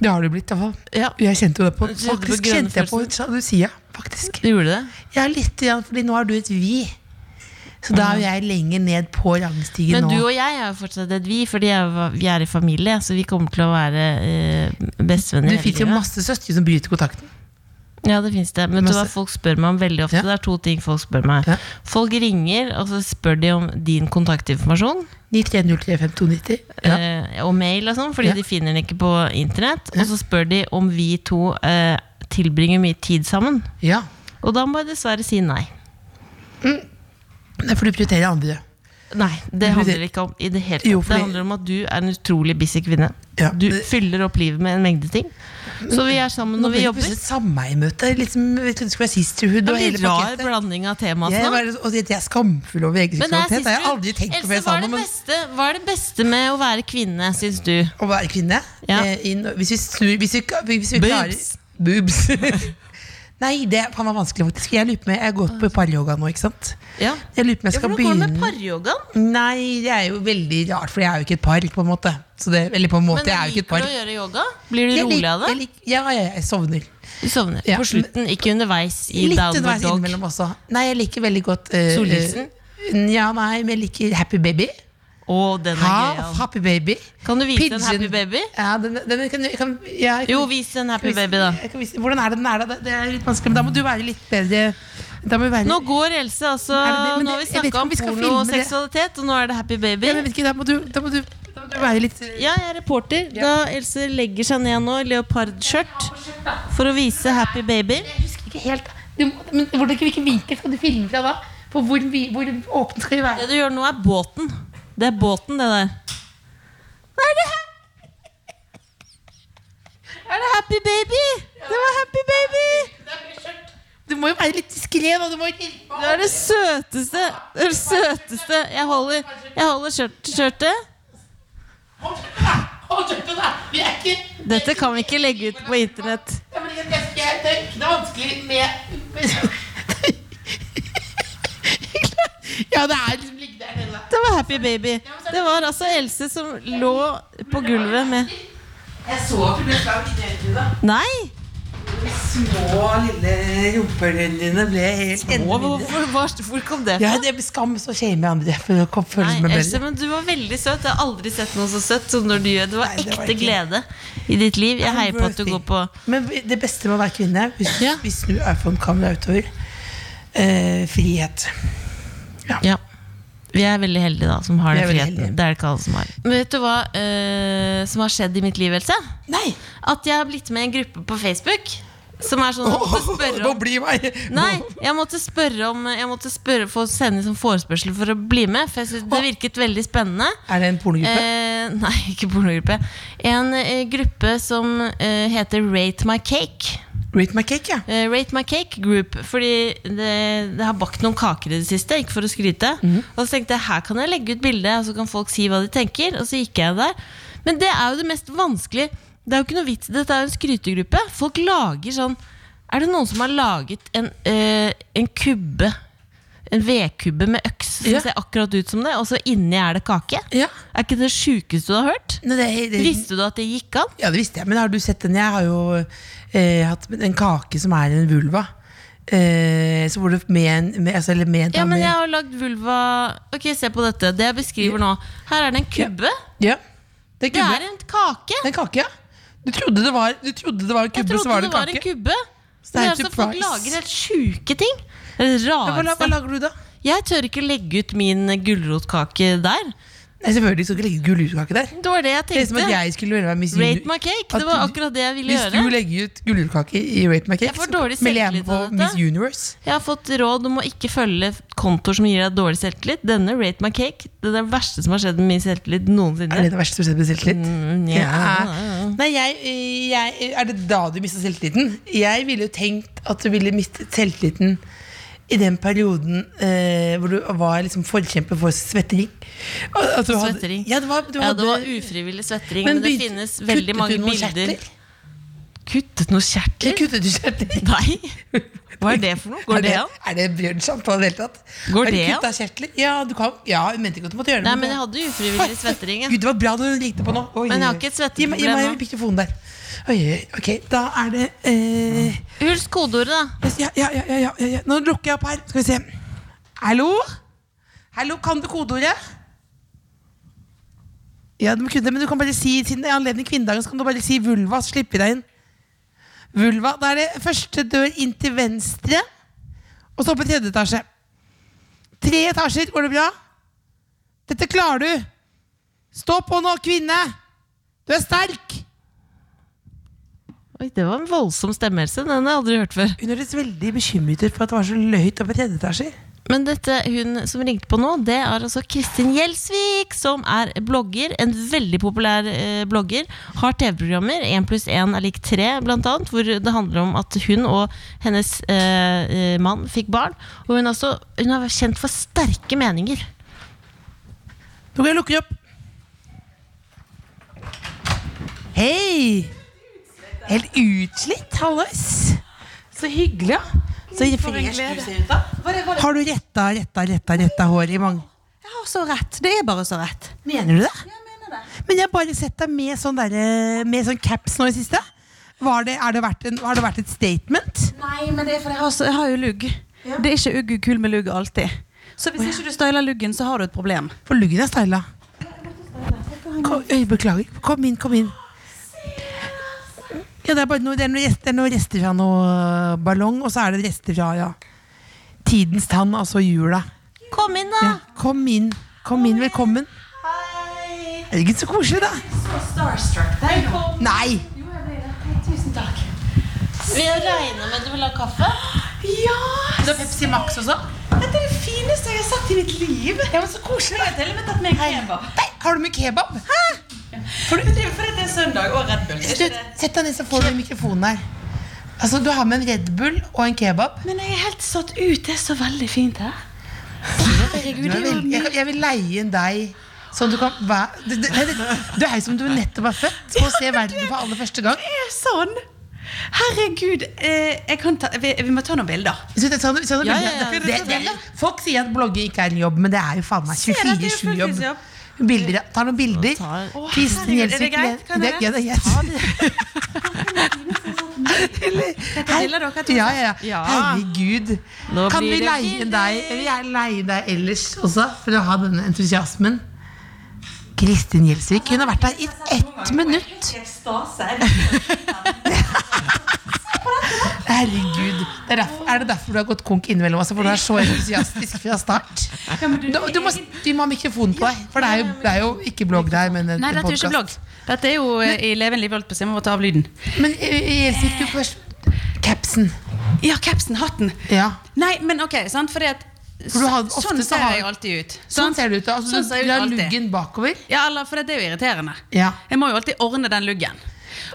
[SPEAKER 3] Det har du blitt, i hvert fall.
[SPEAKER 4] Ja.
[SPEAKER 3] Jeg kjente jo det på
[SPEAKER 4] Kjente på
[SPEAKER 3] Faktisk
[SPEAKER 4] grønne
[SPEAKER 3] kjente jeg på sjalusia. Faktisk.
[SPEAKER 4] Du gjorde det?
[SPEAKER 3] Ja, litt, ja, fordi nå har du et vi. Så da er jo jeg lenger ned på rangstigen
[SPEAKER 4] Men
[SPEAKER 3] nå.
[SPEAKER 4] du og jeg er jo fortsatt et vi, fordi jeg, var- vi er i familie, så vi kommer til å være eh, bestevenner.
[SPEAKER 3] det fins jo
[SPEAKER 4] hele livet.
[SPEAKER 3] masse søstre som bryter kontakten.
[SPEAKER 4] Ja, det finnes det. Men vet du hva
[SPEAKER 3] Masse.
[SPEAKER 4] folk spør meg om veldig ofte?
[SPEAKER 3] Ja.
[SPEAKER 4] Det er to ting folk spør meg.
[SPEAKER 3] Ja.
[SPEAKER 4] Folk ringer, og så spør de om din kontaktinformasjon.
[SPEAKER 3] 93035290. Ja.
[SPEAKER 4] eh, og mail og sånn, fordi
[SPEAKER 3] Ja.
[SPEAKER 4] de finner den ikke på internett. Og så spør de om vi to eh, tilbringer mye tid sammen.
[SPEAKER 3] ja.
[SPEAKER 4] Og da må jeg dessverre si nei.
[SPEAKER 3] Det er fordi du prioriterer andre.
[SPEAKER 4] Nei, det handler ikke om i det hele tatt.
[SPEAKER 3] Jo, fordi-
[SPEAKER 4] Det handler om at du er en utrolig busy kvinne.
[SPEAKER 3] Ja.
[SPEAKER 4] Du fyller opp livet med en mengde ting. Så vi er sammen
[SPEAKER 3] Nå ble
[SPEAKER 4] når vi
[SPEAKER 3] det
[SPEAKER 4] jobber.
[SPEAKER 3] plutselig et sameiemøte. Liksom, jeg trodde det skulle være sisterhood
[SPEAKER 4] Det
[SPEAKER 3] og
[SPEAKER 4] er en
[SPEAKER 3] hele
[SPEAKER 4] litt rar
[SPEAKER 3] pakketet.
[SPEAKER 4] blanding av
[SPEAKER 3] Jeg,
[SPEAKER 4] temaene. nå.
[SPEAKER 3] var, og det at jeg er skamfull over egen
[SPEAKER 4] sånn. Men det
[SPEAKER 3] seksualitet.
[SPEAKER 4] er
[SPEAKER 3] Det har jeg
[SPEAKER 4] sisterhood.
[SPEAKER 3] aldri tenkt på før
[SPEAKER 4] Else,
[SPEAKER 3] jeg sa
[SPEAKER 4] hva er,
[SPEAKER 3] noe.
[SPEAKER 4] det
[SPEAKER 3] Men
[SPEAKER 4] beste, hva er det beste med å være kvinne, syns du?
[SPEAKER 3] å være kvinne
[SPEAKER 4] Ja.
[SPEAKER 3] eh, inn- Hvis vi snur hvis vi, ka- hvis vi klarer
[SPEAKER 4] Boobs. <laughs>
[SPEAKER 3] Boobs. Nei, det kan være vanskelig, faktisk. Jeg lurer på om jeg har gått på paryoga nå, ikke sant.
[SPEAKER 4] Ja.
[SPEAKER 3] Jeg lurer på om jeg skal
[SPEAKER 4] Hvordan går det med
[SPEAKER 3] begynne
[SPEAKER 4] paryogaen?
[SPEAKER 3] Nei, det er jo veldig rart, for jeg er jo ikke et par, på en måte. Så det, eller på en måte,
[SPEAKER 4] Men
[SPEAKER 3] jeg er jo ikke et
[SPEAKER 4] liker
[SPEAKER 3] par.
[SPEAKER 4] du å gjøre yoga? Blir du
[SPEAKER 3] Jeg lik-
[SPEAKER 4] rolig av
[SPEAKER 3] jeg
[SPEAKER 4] det?
[SPEAKER 3] lik- Ja, ja, jeg sovner.
[SPEAKER 4] Du sovner
[SPEAKER 3] Ja,
[SPEAKER 4] på slutten, ikke underveis i
[SPEAKER 3] Litt
[SPEAKER 4] downward
[SPEAKER 3] underveis
[SPEAKER 4] dog.
[SPEAKER 3] innimellom også. Nei, jeg liker veldig godt eh,
[SPEAKER 4] Solhilsen?
[SPEAKER 3] eh, Ja, nei, men jeg liker Happy Baby.
[SPEAKER 4] Å, den er
[SPEAKER 3] Ha,
[SPEAKER 4] gøyal.
[SPEAKER 3] happy Baby.
[SPEAKER 4] Kan du vise
[SPEAKER 3] Pigeon.
[SPEAKER 4] en happy baby?
[SPEAKER 3] Ja, den, den, jeg kan, jeg kan, ja, jeg kan,
[SPEAKER 4] Jo, vis en happy baby, da.
[SPEAKER 3] Jeg kan vise, hvordan er det den er, da? Det- Det er litt vanskelig, men da må du være litt bedre da må du være,
[SPEAKER 4] Nå går Else, altså.
[SPEAKER 3] Er det det? Men
[SPEAKER 4] Nå har vi
[SPEAKER 3] det- jeg vet ikke
[SPEAKER 4] snakka
[SPEAKER 3] om
[SPEAKER 4] om
[SPEAKER 3] vi skal
[SPEAKER 4] porno og
[SPEAKER 3] filme det.
[SPEAKER 4] seksualitet, og nå er det happy baby.
[SPEAKER 3] ja, men, vet ikke, da, må du, da, må du, da må du være litt
[SPEAKER 4] Ja, jeg er reporter. Da Else legger seg ned nå i leopardskjørt for å vise happy baby.
[SPEAKER 3] Ikke helt du, må- men, hvordan, Hvilken vinkel skal du filme fra da? På hvor, vi- hvor åpen skal vi
[SPEAKER 4] Det
[SPEAKER 3] være?
[SPEAKER 4] du gjør nå, er båten. Det er båten, det der. Er det her? Er det Happy Baby? Det var Happy Baby!
[SPEAKER 3] Du må jo være litt diskré. da, du må ikke-
[SPEAKER 4] Det er det søteste. Det er det søteste. Jeg holder, jeg holder skjørt, skjørtet.
[SPEAKER 3] Hold kjeften, da! Hold kjeften, da! Vi er ikke
[SPEAKER 4] Dette kan vi ikke legge ut på internett.
[SPEAKER 3] Ja, men jeg- jeg- jeg- Det er ikke noe vanskelig med Ja, det er liksom ligge der nede. da.
[SPEAKER 4] Det var Happy Baby. Det var altså Else som lå på gulvet med
[SPEAKER 3] Jeg så at du ble slag i det, Frida.
[SPEAKER 4] Nei!
[SPEAKER 3] små, lille rumpehulene dine ble helt enda
[SPEAKER 4] Hvor,
[SPEAKER 3] mindre.
[SPEAKER 4] hvor, hvor, hvor kom det fra?
[SPEAKER 3] Ja, det er skam så shamer jeg andre for å kom- føle
[SPEAKER 4] Nei,
[SPEAKER 3] meg
[SPEAKER 4] Else,
[SPEAKER 3] bedre.
[SPEAKER 4] men du var veldig søt. Jeg har aldri sett noe så søtt som når du gjør det. var
[SPEAKER 3] Nei, det
[SPEAKER 4] ekte
[SPEAKER 3] var ikke-
[SPEAKER 4] glede i ditt liv. Jeg heier på at du
[SPEAKER 3] Worthy.
[SPEAKER 4] går på
[SPEAKER 3] Men det beste med å være kvinne, hvis,
[SPEAKER 4] Ja.
[SPEAKER 3] hvis du er for en kamera utover, eh, frihet.
[SPEAKER 4] Ja. Vi er veldig heldige da, som har
[SPEAKER 3] Vi
[SPEAKER 4] den
[SPEAKER 3] er veldig
[SPEAKER 4] friheten.
[SPEAKER 3] heldige.
[SPEAKER 4] Det er det ikke alle som har. Men vet du hva eh, som har skjedd i mitt liv, Else?
[SPEAKER 3] Nei!
[SPEAKER 4] At jeg har blitt med i en gruppe på Facebook som er sånn at jeg måtte spørre
[SPEAKER 3] nå
[SPEAKER 4] om
[SPEAKER 3] blir meg
[SPEAKER 4] Nei, jeg måtte spørre om Jeg måtte spørre for å sende inn sånn forespørsel for å bli med. For jeg synes det virket veldig spennende.
[SPEAKER 3] Er det en pornogruppe?
[SPEAKER 4] Eh, nei, ikke pornogruppe. En eh, gruppe som eh, heter Rate My Cake.
[SPEAKER 3] Rate my cake, ja.
[SPEAKER 4] Eh, Rate My Cake Group. Fordi det, det har bakt noen kaker i det siste, ikke for å skryte.
[SPEAKER 3] Mhm.
[SPEAKER 4] Og så tenkte jeg her kan jeg legge ut bilde, og så kan folk si hva de tenker. Og så gikk jeg der. Men det er jo det mest vanskelige. Det er jo ikke noe vits, Dette er jo en skrytegruppe. Folk lager sånn Er det noen som har laget en, eh, en kubbe? En vedkubbe med øks som
[SPEAKER 3] Ja.
[SPEAKER 4] ser akkurat ut som det, og så inni er det kake?
[SPEAKER 3] Ja.
[SPEAKER 4] Er ikke det sjukeste du har hørt?
[SPEAKER 3] Nei, det, det,
[SPEAKER 4] Visste du at det gikk an?
[SPEAKER 3] ja, det visste jeg. Men har du sett den? Jeg har jo eh, hatt en kake som er en vulva. Eh, så hvor det med en med, altså, Eller med en
[SPEAKER 4] Ja, men
[SPEAKER 3] dame-
[SPEAKER 4] jeg har lagd vulva Ok, se på dette. Det jeg beskriver nå. Her er det en kubbe.
[SPEAKER 3] ja. Det er
[SPEAKER 4] Det
[SPEAKER 3] kubbe.
[SPEAKER 4] er en kake.
[SPEAKER 3] Det er en kake, ja. Du trodde det var, du trodde det var en
[SPEAKER 4] Jeg
[SPEAKER 3] kubbe, så
[SPEAKER 4] trodde
[SPEAKER 3] var det
[SPEAKER 4] det
[SPEAKER 3] en
[SPEAKER 4] var en
[SPEAKER 3] kake.
[SPEAKER 4] kubbe.
[SPEAKER 3] det
[SPEAKER 4] Men
[SPEAKER 3] er
[SPEAKER 4] altså, folk
[SPEAKER 3] surprise.
[SPEAKER 4] lager helt sjuke ting. Det er det
[SPEAKER 3] Ja, Hva, la- hva
[SPEAKER 4] rareste.
[SPEAKER 3] lager du da?
[SPEAKER 4] Jeg tør ikke legge ut min gulrotkake der.
[SPEAKER 3] Nei, Selvfølgelig skal du ikke legge gulrutkake der.
[SPEAKER 4] Det var det jeg
[SPEAKER 3] Det er som at
[SPEAKER 4] tenkte.
[SPEAKER 3] jeg skulle være Miss
[SPEAKER 4] Rate
[SPEAKER 3] Uni-
[SPEAKER 4] my cake.
[SPEAKER 3] At
[SPEAKER 4] Det var
[SPEAKER 3] du-
[SPEAKER 4] akkurat det jeg ville
[SPEAKER 3] Hvis du
[SPEAKER 4] gjøre.
[SPEAKER 3] legger ut gulrutkake i Rate My Cake,
[SPEAKER 4] Jeg får
[SPEAKER 3] så
[SPEAKER 4] dårlig
[SPEAKER 3] melder jeg meg
[SPEAKER 4] selvtillit
[SPEAKER 3] på
[SPEAKER 4] av dette.
[SPEAKER 3] Miss Universe.
[SPEAKER 4] Jeg har fått råd om å ikke følge kontoer som gir deg dårlig selvtillit. Denne Rate my cake det er det verste som har skjedd med min selvtillit
[SPEAKER 3] Er det
[SPEAKER 4] noensinne.
[SPEAKER 3] det verste du har sett på selvtillit?
[SPEAKER 4] Mm, ja.
[SPEAKER 3] Ja. Nei, jeg, jeg, er det da du mista selvtilliten? Jeg ville jo tenkt at du ville mistet selvtilliten i den perioden eh, hvor du var liksom forkjemper for svettering. Al- At du hadde-
[SPEAKER 4] Svettering.
[SPEAKER 3] Ja, det var, du
[SPEAKER 4] Ja,
[SPEAKER 3] hadde,
[SPEAKER 4] det var ufrivillig svettering, men, det
[SPEAKER 3] begynte-
[SPEAKER 4] finnes veldig mange
[SPEAKER 3] Kuttet du noen
[SPEAKER 4] bilder.
[SPEAKER 3] kjertler?
[SPEAKER 4] Kuttet noen kjertler?
[SPEAKER 3] Kuttet du kjertler?
[SPEAKER 4] Nei! Hva er det for noe?
[SPEAKER 3] Er
[SPEAKER 4] Går
[SPEAKER 3] det,
[SPEAKER 4] det an?
[SPEAKER 3] er det Bjørns samtale i det hele tatt?
[SPEAKER 4] Går
[SPEAKER 3] Har du
[SPEAKER 4] det an?
[SPEAKER 3] kutta kjertler? Ja, du kan, ja, hun mente ikke at du måtte gjøre det.
[SPEAKER 4] Nei, men jeg hadde ufrivillig svettering. jeg.
[SPEAKER 3] Gud, det var bra når hun ringte på nå. Oi.
[SPEAKER 4] Men jeg har ikke et
[SPEAKER 3] Gi meg, gi
[SPEAKER 4] svetteproblem
[SPEAKER 3] meg
[SPEAKER 4] nå.
[SPEAKER 3] mikrofonen der. Oi, oi, ok, da er det eh,
[SPEAKER 4] Husk kodeordet, da.
[SPEAKER 3] ja, ja, ja, ja, ja, ja, ja. Nå lukker jeg opp her. Skal vi se. Hallo? Hallo, kan du kodeordet? Ja, du må kunne det, men du kan bare si siden det er anledning kvinnedagen, så kan du bare si vulva, så slipper vi deg inn. Vulva. Da er det første dør inn til venstre, og så opp i tredje etasje. Tre etasjer. Går det bra? Dette klarer du. Stå på nå, kvinne! Du er sterk!
[SPEAKER 4] Oi, det var en voldsom stemmehelse. Den har jeg aldri hørt før.
[SPEAKER 3] Hun høres veldig bekymret ut for at det var så løyt oppe i tredje etasjer.
[SPEAKER 4] Men dette hun som ringte på nå, det er altså Kristin Gjelsvik, som er blogger. En veldig populær eh, blogger. Har TV-programmer, 1 pluss 1 er lik 3, blant annet, hvor det handler om at hun og hennes eh, eh, mann fikk barn. Og hun, er også, hun er kjent for sterke meninger.
[SPEAKER 3] Nå kan jeg lukke opp. Hei! Helt utslitt, hallois. Så hyggelig, ja. Så fresh du ser ut, da. Har du retta, retta, retta, retta hår i mange
[SPEAKER 5] Jeg har så rett. Det er bare så rett.
[SPEAKER 3] Mener du det? Men jeg har bare sett deg med sånn, derre- med sånn caps nå i siste. Var det, er det vært en, har det vært et statement?
[SPEAKER 5] Nei, men det er fordi jeg har, så, jeg har jo lugg. Det er ikke ugg kul med lugg alltid. Så hvis ikke du styler luggen, så har du et problem.
[SPEAKER 3] For luggen er styla. Kom, øy, beklager. Kom inn, kom inn. Ja, det er bare noe, det er noe, rest, det er noe rester fra noe ballong, og så er det rester fra ja. tidens tann, altså jula.
[SPEAKER 4] Kom inn, da!
[SPEAKER 3] Ja, kom inn. Kom inn, velkommen. Er det ikke så koselig, da? Nei!
[SPEAKER 4] Vi har regna med at du vil ha kaffe.
[SPEAKER 5] Ja!
[SPEAKER 3] Du har Pepsi Max også?
[SPEAKER 5] Dette er det fineste jeg har sett i mitt liv.
[SPEAKER 3] Ja, men så koselig. da.
[SPEAKER 5] Til og med tatt med kebab.
[SPEAKER 3] Nei, har du med kebab?
[SPEAKER 5] For det er fordi det er søndag og Red Bull. er ikke
[SPEAKER 3] Slutt.
[SPEAKER 5] det?
[SPEAKER 3] Sett deg ned, så får du mikrofonen her. Altså, Du har med en Red Bull og en kebab.
[SPEAKER 5] Men jeg er helt satt ut. Det er så veldig fint her.
[SPEAKER 3] Du er vel- jeg, jeg vil leie inn deg sånn du kan være Du, du, nei, du- du er jo som du nettopp er født og ser verden for aller første gang.
[SPEAKER 5] Det er sånn. Herregud. Eh, jeg kan ta, vi, vi må ta noen bilder.
[SPEAKER 3] Så det- sånn- sånn-
[SPEAKER 4] Ja, ja, ja.
[SPEAKER 3] det- det- det- Folk sier at blogging ikke er en jobb, men det er jo faen meg
[SPEAKER 5] Se, dette er jo
[SPEAKER 3] 24-7-jobb.
[SPEAKER 5] fulltidsjobb.
[SPEAKER 3] Bilder, Ta noen bilder.
[SPEAKER 4] tar-
[SPEAKER 3] Kristin
[SPEAKER 5] herregud, er det
[SPEAKER 3] Gjelsvik
[SPEAKER 5] greit? Kan
[SPEAKER 3] det-
[SPEAKER 5] jeg-
[SPEAKER 3] ja, det er greit. Eller-
[SPEAKER 5] stille dere, Tore?
[SPEAKER 3] Ja, ja, ja.
[SPEAKER 5] Ja.
[SPEAKER 3] Herregud.
[SPEAKER 4] Nå
[SPEAKER 3] kan vi
[SPEAKER 4] blir det
[SPEAKER 3] leie
[SPEAKER 4] billig.
[SPEAKER 3] deg Jeg vil gjerne leie deg ellers også, for å ha denne entusiasmen? Kristin Gjelsvik. Hun har vært her i ett minutt. Herregud. Det er, derfor, er det derfor du har gått konk innimellom? Altså, for du er så entusiastisk fra start? Du, du, må, du må ha mikrofonen på deg, for det er jo, det er jo ikke blogg der, men en
[SPEAKER 5] Nei, dette er jo ikke
[SPEAKER 3] podcast.
[SPEAKER 5] blogg. Dette er jo eh, i Leven livet, holdt på å si. Jeg må bare ta av lyden.
[SPEAKER 3] Men eh, Gjelsvik, du først. Capsen.
[SPEAKER 5] Ja, capsen, hatten.
[SPEAKER 3] Ja.
[SPEAKER 5] Nei, men ok, sant, fordi at
[SPEAKER 3] du har-
[SPEAKER 5] så-
[SPEAKER 3] ofte
[SPEAKER 5] Sånn
[SPEAKER 3] så
[SPEAKER 5] ser
[SPEAKER 3] har-
[SPEAKER 5] jeg alltid ut.
[SPEAKER 3] Sånn
[SPEAKER 5] sant?
[SPEAKER 3] ser det ut. da. Altså,
[SPEAKER 5] Sånn ser jeg
[SPEAKER 3] du
[SPEAKER 5] ut
[SPEAKER 3] har
[SPEAKER 5] alltid.
[SPEAKER 3] luggen bakover.
[SPEAKER 5] Ja, eller, for det er jo irriterende.
[SPEAKER 3] Ja.
[SPEAKER 5] Jeg må jo alltid ordne den luggen.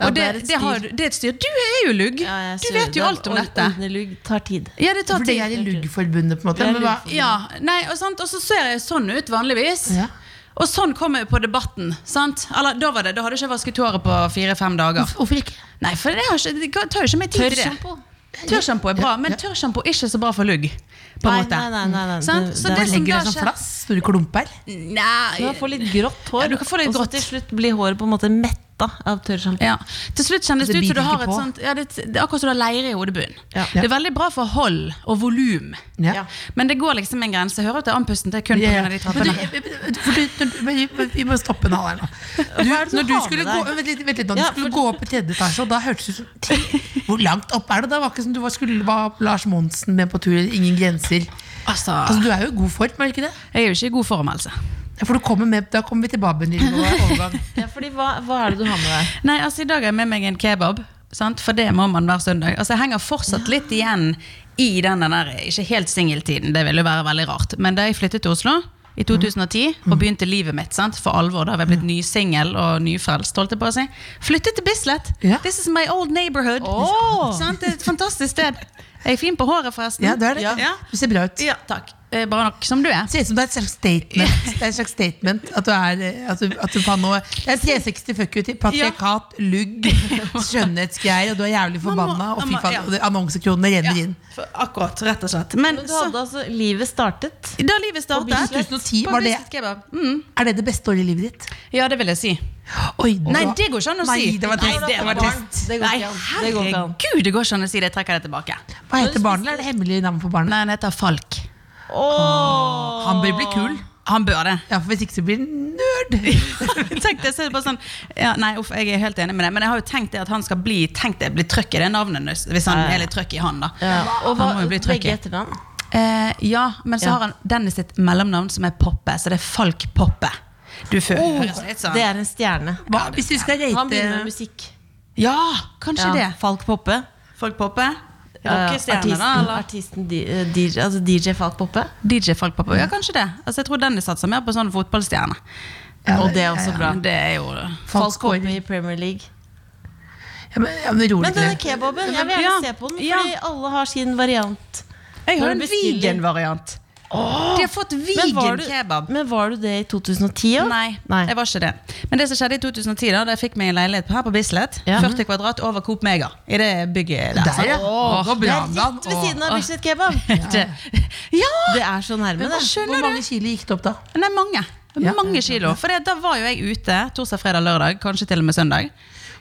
[SPEAKER 4] Ja, det
[SPEAKER 5] Og det,
[SPEAKER 4] er et
[SPEAKER 5] det, har,
[SPEAKER 4] styr.
[SPEAKER 5] det er et styr. Du er jo lugg.
[SPEAKER 4] Ja, jeg
[SPEAKER 5] du
[SPEAKER 4] ser
[SPEAKER 5] vet
[SPEAKER 4] det.
[SPEAKER 5] jo alt om
[SPEAKER 4] Ord-
[SPEAKER 5] dette.
[SPEAKER 4] Ordnelugg tar tid.
[SPEAKER 5] Ja, det tar
[SPEAKER 3] For det
[SPEAKER 5] tid.
[SPEAKER 3] er i Luggforbundet, på en måte. Men hva,
[SPEAKER 5] Ja, nei, og, sant? og så ser jeg sånn ut vanligvis.
[SPEAKER 3] Ja.
[SPEAKER 5] Og sånn kom jeg på Debatten. sant? Eller, da, var det, da hadde jeg ikke vasket håret på fire-fem dager.
[SPEAKER 3] hvorfor ikke?
[SPEAKER 5] Nei, for det, har ikke, det tar jo ikke mer tid til det.
[SPEAKER 4] Tørrsjampo.
[SPEAKER 5] Tørrsjampo er bra, men tørrsjampo er ikke så bra for lugg. på
[SPEAKER 4] Nei,
[SPEAKER 5] en måte.
[SPEAKER 4] nei, nei, nei, nei.
[SPEAKER 5] Sant?
[SPEAKER 4] Det-
[SPEAKER 5] Så
[SPEAKER 4] det
[SPEAKER 5] det, Mm.
[SPEAKER 4] er-
[SPEAKER 5] som
[SPEAKER 3] Legger
[SPEAKER 5] da
[SPEAKER 3] du sånn
[SPEAKER 5] skjer-
[SPEAKER 3] flass? Store klumper?
[SPEAKER 4] Du
[SPEAKER 5] Nei,
[SPEAKER 4] kan få litt grått hår,
[SPEAKER 5] Ja, du kan få litt
[SPEAKER 4] og så
[SPEAKER 5] grått.
[SPEAKER 4] til slutt blir håret på en måte metta av tørrsjampo.
[SPEAKER 5] Ja. Til slutt kjennes
[SPEAKER 3] Det
[SPEAKER 5] det ut som
[SPEAKER 3] biter
[SPEAKER 5] du
[SPEAKER 3] Altså,
[SPEAKER 5] har
[SPEAKER 3] ikke
[SPEAKER 5] et
[SPEAKER 3] på.
[SPEAKER 5] sånt ja, det, det er akkurat som du har leire i hodebunnen.
[SPEAKER 4] Ja.
[SPEAKER 5] Det er veldig bra for hold og volum.
[SPEAKER 3] Ja.
[SPEAKER 5] Men det går liksom en grense. Jeg hører at det er andpusten. Det er kun
[SPEAKER 3] Ja,
[SPEAKER 5] på
[SPEAKER 3] ja.
[SPEAKER 5] grunn av de
[SPEAKER 3] Men du,
[SPEAKER 5] trappene.
[SPEAKER 3] for du, når, du- men vi- men vi må stoppe en hal her nå. Du, når du
[SPEAKER 4] har med
[SPEAKER 3] skulle
[SPEAKER 4] deg?
[SPEAKER 3] gå, vent litt, vent litt nå, du
[SPEAKER 4] Ja,
[SPEAKER 3] skulle
[SPEAKER 4] for-
[SPEAKER 3] gå opp i tredje etasje, og da hørtes det ut som ti- Hvor langt opp er det? Da var ikke som du var, skulle var Lars Monsen med på tur, ingen grenser.
[SPEAKER 5] Altså,
[SPEAKER 3] Altså, Du er jo i god form, er du ikke det?
[SPEAKER 5] jeg er jo ikke i god form, altså.
[SPEAKER 3] Ja, For du kommer med, da kommer vi til Babben. Lille, og overgang.
[SPEAKER 4] Ja, fordi hva, hva er det du har med deg?
[SPEAKER 5] Nei, altså I dag har jeg med meg en kebab, sant? for det må man hver søndag. Altså Jeg henger fortsatt litt igjen i den der ikke helt singeltiden. Det ville jo være veldig rart. Men da jeg flyttet til Oslo
[SPEAKER 3] Mm.
[SPEAKER 5] i 2010 og begynte livet mitt sant? for alvor, da var jeg blitt nysingel og nyfrelst, holdt jeg på å si. Flyttet til Bislett.
[SPEAKER 3] Ja.
[SPEAKER 5] This is my old neighborhood.
[SPEAKER 4] Åh!
[SPEAKER 5] Sant? Det er et fantastisk sted. Jeg er fin på håret, forresten.
[SPEAKER 3] Ja, du er det.
[SPEAKER 5] Ja.
[SPEAKER 3] Du ser bra ut.
[SPEAKER 5] Ja, takk. Eh, Bra nok som du er.
[SPEAKER 3] Det ser ut som det er et slags statement. Det er et slags statement At du er eh, at du, at du faen nå Det er 360 fuck you til patriarkat,
[SPEAKER 5] <laughs>
[SPEAKER 3] lugg, skjønnhetsgreier, og du er jævlig
[SPEAKER 5] Man må-
[SPEAKER 3] forbanna, og fy
[SPEAKER 5] man må- ja.
[SPEAKER 3] faen, og det- annonsekronene
[SPEAKER 5] Ja,
[SPEAKER 3] renner inn.
[SPEAKER 5] for- akkurat, rett og slett. Men,
[SPEAKER 4] Men du
[SPEAKER 5] så,
[SPEAKER 4] hadde altså livet startet.
[SPEAKER 5] da livet startet
[SPEAKER 3] Bislett. 2010
[SPEAKER 5] på
[SPEAKER 3] var det-
[SPEAKER 5] Bislett Kebab. Mm.
[SPEAKER 3] Er det det beste året i livet ditt?
[SPEAKER 5] Ja, det vil jeg si.
[SPEAKER 3] Oi,
[SPEAKER 5] Nei,
[SPEAKER 3] da-
[SPEAKER 5] det går ikke an å
[SPEAKER 3] Nei,
[SPEAKER 5] si.
[SPEAKER 3] det var trist.
[SPEAKER 5] Nei, det var trist.
[SPEAKER 4] Det går
[SPEAKER 5] Nei,
[SPEAKER 4] ikke an. Det går ikke an.
[SPEAKER 5] herregud, det går ikke an å si det. Jeg trekker det tilbake.
[SPEAKER 3] Hva heter barnet? eller Er det hemmelig navn for barnet?
[SPEAKER 5] Nei, han heter Falk.
[SPEAKER 4] Åh.
[SPEAKER 3] Han bør bli kul.
[SPEAKER 5] Han bør det. <laughs>
[SPEAKER 3] Ja, for Hvis ikke så blir han nerd.
[SPEAKER 5] Tenk det, så er det bare sånn ja, Nei, uff, jeg er helt enig med det, men jeg har jo tenkt det at han skal bli Tenk det blir trøkk i det navnet hans, hvis han
[SPEAKER 4] Ja, ja.
[SPEAKER 5] er litt trøkk i han, da.
[SPEAKER 4] Ja. Og hva,
[SPEAKER 5] han må jo bli trøkk
[SPEAKER 4] begge
[SPEAKER 5] i.
[SPEAKER 4] etternavn.
[SPEAKER 5] Eh, ja, men så
[SPEAKER 4] Ja.
[SPEAKER 5] har han Dennis sitt mellomnavn, som er Poppe, så det er Falk Poppe. Du føler høres litt sånn
[SPEAKER 4] Oh, Det er en stjerne.
[SPEAKER 3] Hva, hvis du skal
[SPEAKER 4] Han begynner med
[SPEAKER 3] rate
[SPEAKER 4] musikk.
[SPEAKER 5] Ja, kanskje
[SPEAKER 4] Ja.
[SPEAKER 5] det.
[SPEAKER 4] Falk Poppe.
[SPEAKER 5] Falk Poppe.
[SPEAKER 4] Eh,
[SPEAKER 5] Rockestjerne, da,
[SPEAKER 4] artisten,
[SPEAKER 5] eller?
[SPEAKER 4] artisten di- eh, DJ, altså DJ Falk Poppe.
[SPEAKER 5] DJ Falk Poppe. Ja, kanskje det. Altså, jeg tror Dennis satser mer på sånn fotballstjerne.
[SPEAKER 3] Ja,
[SPEAKER 4] Og det er også bra.
[SPEAKER 5] Men det er jo
[SPEAKER 4] Falk
[SPEAKER 3] Falsk
[SPEAKER 4] Poppe
[SPEAKER 3] hår.
[SPEAKER 4] i Premier League.
[SPEAKER 3] Ja, men, ja, men rolig
[SPEAKER 4] Men denne
[SPEAKER 3] ned.
[SPEAKER 4] kebaben, jeg vil
[SPEAKER 5] Ja.
[SPEAKER 4] gjerne se på den,
[SPEAKER 5] Ja.
[SPEAKER 4] fordi alle har sin variant. Når
[SPEAKER 5] Jeg har
[SPEAKER 4] du
[SPEAKER 5] en
[SPEAKER 4] bestiller-
[SPEAKER 5] vegan-variant. De har fått
[SPEAKER 4] Men var du-
[SPEAKER 5] vegan-kebab.
[SPEAKER 4] Men var du det i 2010 òg?
[SPEAKER 5] Nei, jeg var ikke det. Men det som skjedde i 2010, da da jeg fikk meg en leilighet her på Bislett,
[SPEAKER 4] Ja.
[SPEAKER 5] 40 kvadrat over Coop Mega, i det bygget der. <laughs>
[SPEAKER 3] Der, ja.
[SPEAKER 5] sant?
[SPEAKER 3] Å, går
[SPEAKER 4] Det
[SPEAKER 3] bra
[SPEAKER 4] er
[SPEAKER 3] om dagen.
[SPEAKER 4] rett ved siden av
[SPEAKER 5] Åh.
[SPEAKER 4] Bislett
[SPEAKER 5] <laughs>
[SPEAKER 4] kebab.
[SPEAKER 5] Ja!
[SPEAKER 4] Det er så nærme,
[SPEAKER 5] Men hva
[SPEAKER 4] det.
[SPEAKER 3] Hvor
[SPEAKER 5] skjønner
[SPEAKER 3] mange kilo gikk det opp da?
[SPEAKER 5] Nei, mange.
[SPEAKER 3] Ja.
[SPEAKER 5] Mange kilo. For det, da var jo jeg ute torsdag, fredag, lørdag, kanskje til og med søndag.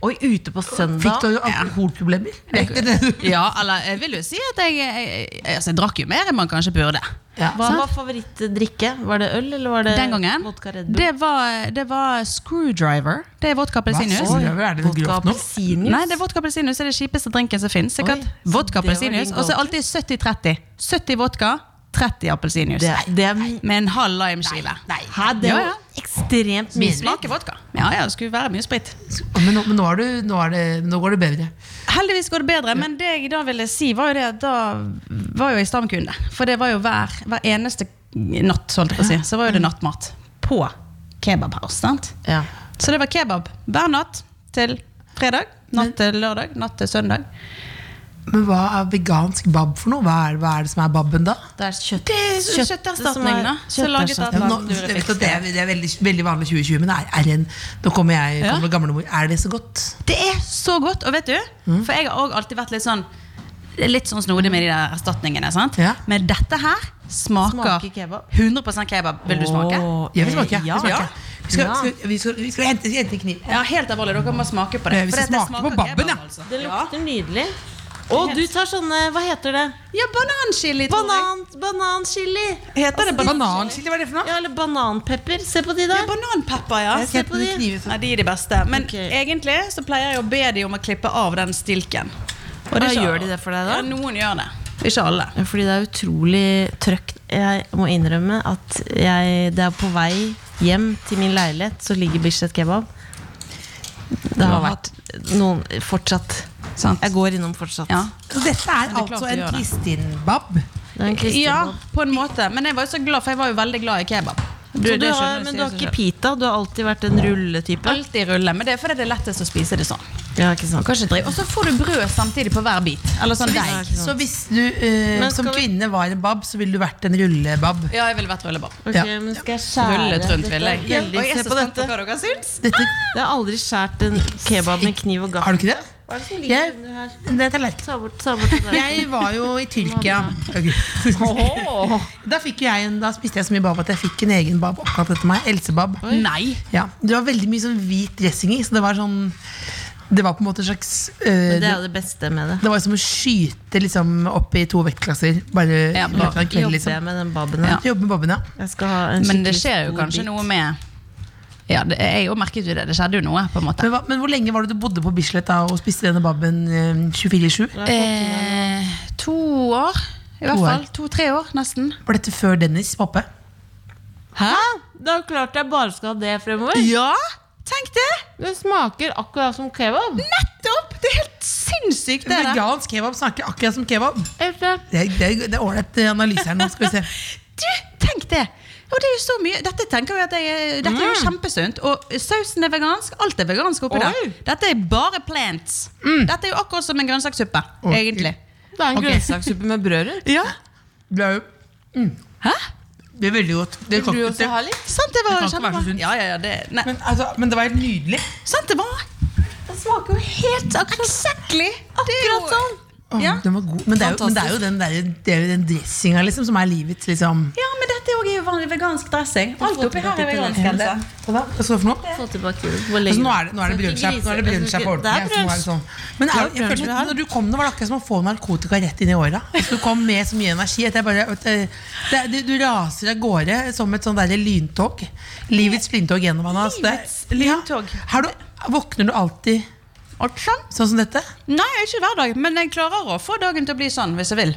[SPEAKER 4] Oi, ute på
[SPEAKER 3] Fikk
[SPEAKER 4] søndag.
[SPEAKER 3] du alkoholproblemer? Det er ikke det.
[SPEAKER 5] Ja, eller jeg vil jo si at jeg, jeg, jeg, altså, jeg drakk jo mer enn man kanskje burde.
[SPEAKER 3] Ja.
[SPEAKER 4] Hva var favorittdrikke? Var det øl, eller var det
[SPEAKER 5] Den gangen.
[SPEAKER 4] eh, vodka Red Bull?
[SPEAKER 5] Det var, det var screwdriver. Det er vodka appelsinjus.
[SPEAKER 3] Hva? Er det noe
[SPEAKER 4] Vodka
[SPEAKER 3] grovt nå?
[SPEAKER 4] appelsinjuice?
[SPEAKER 5] Nei, det er vodka appelsinjuice er det kjipeste drinken som finnes. sikkert.
[SPEAKER 4] Oi, så
[SPEAKER 5] vodka
[SPEAKER 4] det var
[SPEAKER 5] appelsinjuice,
[SPEAKER 4] din
[SPEAKER 5] Og så er det alltid 70-30. 70 vodka, 30 appelsinjuice.
[SPEAKER 4] Det er- det er-
[SPEAKER 5] Med en halv limeskive.
[SPEAKER 4] Hæ, det
[SPEAKER 5] Ja,
[SPEAKER 4] var
[SPEAKER 5] ja.
[SPEAKER 4] ekstremt
[SPEAKER 5] Mye
[SPEAKER 4] mye.
[SPEAKER 5] smaker vodka. Ja, ja, det skulle være mye sprit.
[SPEAKER 3] Men, nå, men nå, er du, nå, er det, nå går det bedre.
[SPEAKER 5] Heldigvis går det bedre, men det jeg da ville si, var jo det at da var jo jeg stamkunde. For det var jo hver, hver eneste natt, holdt jeg på å si, så var jo det nattmat på kebabhouse. sant?
[SPEAKER 4] Mm. Ja.
[SPEAKER 5] Så det var kebab hver natt til fredag, natt til lørdag, natt til søndag.
[SPEAKER 3] Men hva er vegansk bab for noe? Hva er, hva er det som er babben, da?
[SPEAKER 4] Det er kjøtt.
[SPEAKER 5] Det er
[SPEAKER 4] Kjøttet som er-
[SPEAKER 5] kjøtterstatning, da. Så laget av
[SPEAKER 3] Ja,
[SPEAKER 4] kjøtterstatning.
[SPEAKER 3] men nå,
[SPEAKER 5] et
[SPEAKER 3] jeg vet
[SPEAKER 5] eller
[SPEAKER 3] at
[SPEAKER 5] annet
[SPEAKER 3] det, er, det er veldig, veldig vanlig 2020, men er, er en, nå kommer jeg
[SPEAKER 5] Ja.
[SPEAKER 3] kommer gamlemor. Er det så godt?
[SPEAKER 5] Det er så godt, og vet du,
[SPEAKER 4] Mm.
[SPEAKER 5] for jeg har òg alltid vært litt sånn Litt sånn snodig med de der erstatningene. sant?
[SPEAKER 3] Ja.
[SPEAKER 5] Men dette her smaker
[SPEAKER 4] Smaker kebab.
[SPEAKER 5] 100 kebab. Vil du smake?
[SPEAKER 4] Åh,
[SPEAKER 3] Jeg vil smake.
[SPEAKER 4] eh,
[SPEAKER 3] jeg vil smake. Vi skal,
[SPEAKER 4] Ja.
[SPEAKER 3] skal, vi skal, vi skal hente, hente en kniv.
[SPEAKER 5] Ja, helt alvorlig, dere må smake på det.
[SPEAKER 3] Nei, vi
[SPEAKER 5] for
[SPEAKER 3] skal
[SPEAKER 5] det- det
[SPEAKER 3] smake på
[SPEAKER 5] smaker
[SPEAKER 3] babben,
[SPEAKER 5] kebab,
[SPEAKER 3] ja.
[SPEAKER 5] altså.
[SPEAKER 4] Det lukter nydelig. Og du tar sånne Hva heter det?
[SPEAKER 5] Ja, bananchili, tror jeg.
[SPEAKER 4] Banan, bananchili! Altså,
[SPEAKER 5] Heter det banan?
[SPEAKER 3] Bananchili, hva er det for noe?
[SPEAKER 4] Ja, eller bananpepper. Se på de
[SPEAKER 5] Ja,
[SPEAKER 4] der.
[SPEAKER 5] bananpepper, ja.
[SPEAKER 4] se på de.
[SPEAKER 5] Nei, de er de beste. Men
[SPEAKER 4] Ok.
[SPEAKER 5] egentlig så pleier jeg å be de om å klippe av den stilken. Og
[SPEAKER 4] Ja,
[SPEAKER 5] ikke
[SPEAKER 4] gjør
[SPEAKER 5] alle.
[SPEAKER 4] de det for deg da?
[SPEAKER 5] Ja, noen gjør det. Ikke alle.
[SPEAKER 4] Ja, Fordi det er utrolig trøkt. Jeg må innrømme at jeg, det er på vei hjem til min leilighet, så ligger Bislett Kebab. Det har vært noen fortsatt.
[SPEAKER 5] Sant.
[SPEAKER 4] Jeg går innom fortsatt.
[SPEAKER 5] Ja.
[SPEAKER 3] Så dette er
[SPEAKER 5] klart
[SPEAKER 3] altså
[SPEAKER 5] vi
[SPEAKER 3] en
[SPEAKER 5] gjør det.
[SPEAKER 3] kristinbab.
[SPEAKER 4] Det er en kristin
[SPEAKER 5] ja,
[SPEAKER 4] kebab.
[SPEAKER 5] på en måte. Men jeg var jo så glad, for jeg var jo veldig glad i kebab.
[SPEAKER 4] Så du har, men du har ikke pita? Du har alltid vært en rulletype?
[SPEAKER 5] Alltid rulle, men det er fordi det er lettest å spise det sånn.
[SPEAKER 4] Ja, ikke sant.
[SPEAKER 5] Kanskje driv- Og så får du brød samtidig på hver bit. Eller sånn deig.
[SPEAKER 3] Så hvis du eh,
[SPEAKER 4] Men skal
[SPEAKER 3] som
[SPEAKER 4] vi-
[SPEAKER 3] kvinne var en bab, så ville du vært en rullebab.
[SPEAKER 5] Ja, jeg ville vært rullebab.
[SPEAKER 4] Ok,
[SPEAKER 3] Ja.
[SPEAKER 4] men skal jeg skjære
[SPEAKER 5] Rullet rundt, vil jeg.
[SPEAKER 4] Dette er veldig-
[SPEAKER 5] Og jeg er
[SPEAKER 4] Se
[SPEAKER 5] så
[SPEAKER 4] på
[SPEAKER 5] spent på
[SPEAKER 4] dette.
[SPEAKER 5] hva dere syns.
[SPEAKER 3] Dette,
[SPEAKER 4] Jeg har aldri skåret en kebab med kniv og
[SPEAKER 3] har
[SPEAKER 4] gaffel.
[SPEAKER 3] du ikke det?
[SPEAKER 4] Hva er det som
[SPEAKER 3] Jeg-
[SPEAKER 4] ligger under her?
[SPEAKER 3] Det er tallerken.
[SPEAKER 4] Ta bort, ta bort det der.
[SPEAKER 3] Jeg var jo i Tyrkia.
[SPEAKER 4] Åh.
[SPEAKER 3] <laughs> Da, fikk jo jeg en, da spiste jeg så mye bab at jeg fikk en egen bab oppkalt etter meg. Else-bab.
[SPEAKER 5] Nei.
[SPEAKER 3] Ja, det var veldig mye sånn hvit dressing i, så det var sånn Det var på en måte en slags eh,
[SPEAKER 4] Men det
[SPEAKER 3] det,
[SPEAKER 4] er jo det beste med det.
[SPEAKER 3] det var som å skyte liksom, opp i to vektklasser. Bare
[SPEAKER 5] Ja,
[SPEAKER 3] i løpet av en kveld,
[SPEAKER 4] Jobber jeg
[SPEAKER 3] liksom.
[SPEAKER 4] med den baben her?
[SPEAKER 5] Ja.
[SPEAKER 3] Jobbe med babben, ja.
[SPEAKER 4] Jeg skal ha en
[SPEAKER 5] Men det
[SPEAKER 4] skikkelig
[SPEAKER 5] skjer jo
[SPEAKER 4] stor
[SPEAKER 5] kanskje
[SPEAKER 4] bit.
[SPEAKER 5] noe med Ja, det, jeg jo merket jo det. Det skjedde jo noe, på en måte.
[SPEAKER 3] Men, hva, men hvor lenge var det du bodde på Bislett da og spiste denne babben eh, 24-7?
[SPEAKER 5] Eh, to år, i hvert
[SPEAKER 3] To år.
[SPEAKER 5] fall. To-tre år, nesten.
[SPEAKER 3] Var dette før Dennis var oppe?
[SPEAKER 5] Hæ?
[SPEAKER 4] Det er jo klart jeg bare skal ha det fremover.
[SPEAKER 5] Ja! Tenk det!
[SPEAKER 4] Det smaker akkurat som kebab.
[SPEAKER 5] Nettopp! Det er helt sinnssykt, det der.
[SPEAKER 3] Vegansk kebab snakker akkurat som kebab.
[SPEAKER 4] Helt klart.
[SPEAKER 3] Det er- det er- det er ålreit eh, analyse her nå, skal vi se.
[SPEAKER 5] Du, tenk det! Og det er jo så mye Dette tenker jeg at jeg, dette er jo
[SPEAKER 3] Mm.
[SPEAKER 5] kjempesunt. Og sausen er vegansk. Alt er vegansk oppi der.
[SPEAKER 4] Oi.
[SPEAKER 5] Dette er bare plants.
[SPEAKER 3] Mm.
[SPEAKER 5] Dette er jo akkurat som en grønnsakssuppe,
[SPEAKER 3] Oi.
[SPEAKER 5] egentlig.
[SPEAKER 4] Det er en
[SPEAKER 3] Ok.
[SPEAKER 4] grønnsakssuppe med brød rundt.
[SPEAKER 5] Ja.
[SPEAKER 3] Det er jo Mm.
[SPEAKER 5] Hæ?
[SPEAKER 3] det er veldig godt. Det
[SPEAKER 4] Vil
[SPEAKER 3] kan,
[SPEAKER 4] du
[SPEAKER 3] ikke-
[SPEAKER 4] også ha litt?
[SPEAKER 5] Sant, det var
[SPEAKER 3] Det kan ikke være så
[SPEAKER 5] kjempebra.
[SPEAKER 3] sunt.
[SPEAKER 5] Ja, ja, ja, det, nei.
[SPEAKER 3] men, altså, men det var helt nydelig.
[SPEAKER 5] Sant det var? Det smaker jo helt akkurat, exactly.
[SPEAKER 4] Akkurat sånn.
[SPEAKER 3] Åh,
[SPEAKER 5] Ja.
[SPEAKER 3] den var god. Men, det er jo, men det er jo den, der, det er jo den dressinga liksom, som er livets liksom.
[SPEAKER 5] Ja, men dette er jo vanlig vegansk dressing. Alt oppi her er vegansk. Else.
[SPEAKER 3] Hva da? Hva skal du for noe?
[SPEAKER 4] Få tilbake det. Hvor
[SPEAKER 3] Altså,
[SPEAKER 4] lenge?
[SPEAKER 3] nå er det, nå er det
[SPEAKER 4] Så ikke
[SPEAKER 3] brunsj her nå er det
[SPEAKER 4] griser-
[SPEAKER 3] brunsj her på
[SPEAKER 4] Det er
[SPEAKER 3] ordentlig. så nå er det
[SPEAKER 4] brunsj.
[SPEAKER 3] sånn. Men er,
[SPEAKER 4] Det er
[SPEAKER 3] jeg
[SPEAKER 4] brunsj vi
[SPEAKER 3] følte,
[SPEAKER 4] har.
[SPEAKER 3] når du kom, det var det akkurat som å få narkotika rett inn i åra. Du kom med så mye energi at jeg bare at det, det, det, Du raser av gårde som et sånn derre lyntog. Livets lyntog gjennom han. altså. Det-
[SPEAKER 5] Livets lyntog.
[SPEAKER 3] Ja. Har du, våkner du alltid
[SPEAKER 5] Alt sånn?
[SPEAKER 3] sånn som dette?
[SPEAKER 5] Nei, ikke hver dag, men jeg klarer å få dagen til å bli sånn hvis jeg vil.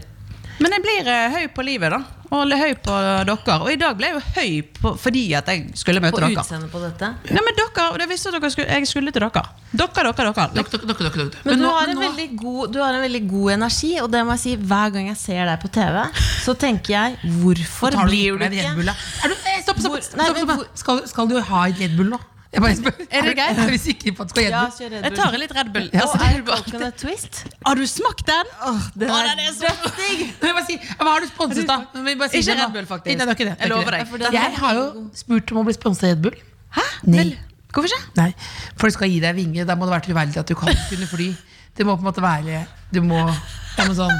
[SPEAKER 5] Men jeg blir eh, høy på livet, da. Og eller høy på dere. Og i dag ble jeg jo høy på, fordi at jeg skulle møte
[SPEAKER 4] På
[SPEAKER 5] dere.
[SPEAKER 4] utseendet på dette.
[SPEAKER 5] Nei, men dere, det visste dere skulle, jeg skulle til dere. Dere, dere, dere.
[SPEAKER 4] Men,
[SPEAKER 3] Men
[SPEAKER 4] du,
[SPEAKER 3] nå-
[SPEAKER 4] har
[SPEAKER 3] men
[SPEAKER 4] en
[SPEAKER 3] nå-
[SPEAKER 4] veldig god, du har en veldig god energi, og det må jeg si hver gang jeg ser deg på TV, så tenker jeg hvorfor
[SPEAKER 3] Tar du
[SPEAKER 4] blir
[SPEAKER 3] ikke
[SPEAKER 4] du
[SPEAKER 3] deg Red Bull,
[SPEAKER 4] ikke
[SPEAKER 3] da? Er du, eh, stopp, stopp!
[SPEAKER 4] Hvor-
[SPEAKER 3] stopp,
[SPEAKER 4] nei,
[SPEAKER 3] stopp,
[SPEAKER 4] men
[SPEAKER 3] stopp. Skal, skal du ha et Red Bull nå? Jeg bare spør.
[SPEAKER 5] Er det greit?
[SPEAKER 3] Er <laughs> du sikker på at du skal ha
[SPEAKER 4] Ja,
[SPEAKER 3] Red Bull?
[SPEAKER 4] kjør Red
[SPEAKER 5] Jeg
[SPEAKER 4] Bull.
[SPEAKER 5] tar litt Red Bull.
[SPEAKER 3] Ja.
[SPEAKER 5] Altså,
[SPEAKER 4] Og
[SPEAKER 5] det
[SPEAKER 4] er
[SPEAKER 5] er bare-
[SPEAKER 4] coconut twist?
[SPEAKER 5] har du smakt den? Å, den er så
[SPEAKER 3] Kan jeg bare si, hva har du sponset, da? Men vi bare sier det
[SPEAKER 5] Ikke
[SPEAKER 3] nå.
[SPEAKER 5] Red Bull, faktisk.
[SPEAKER 3] Nei, det er ikke det. det er ikke
[SPEAKER 5] Jeg lover
[SPEAKER 3] det.
[SPEAKER 5] deg.
[SPEAKER 4] for den
[SPEAKER 3] Jeg
[SPEAKER 4] er
[SPEAKER 3] har jo spurt om å bli sponset av Red Bull.
[SPEAKER 5] Hæ?
[SPEAKER 3] Nei.
[SPEAKER 5] Vel, Hvorfor ikke?
[SPEAKER 3] Nei, For det skal gi deg vinger. Da må det være troverdig at du kan kunne fly. Det må på en måte være Du må, det må sånn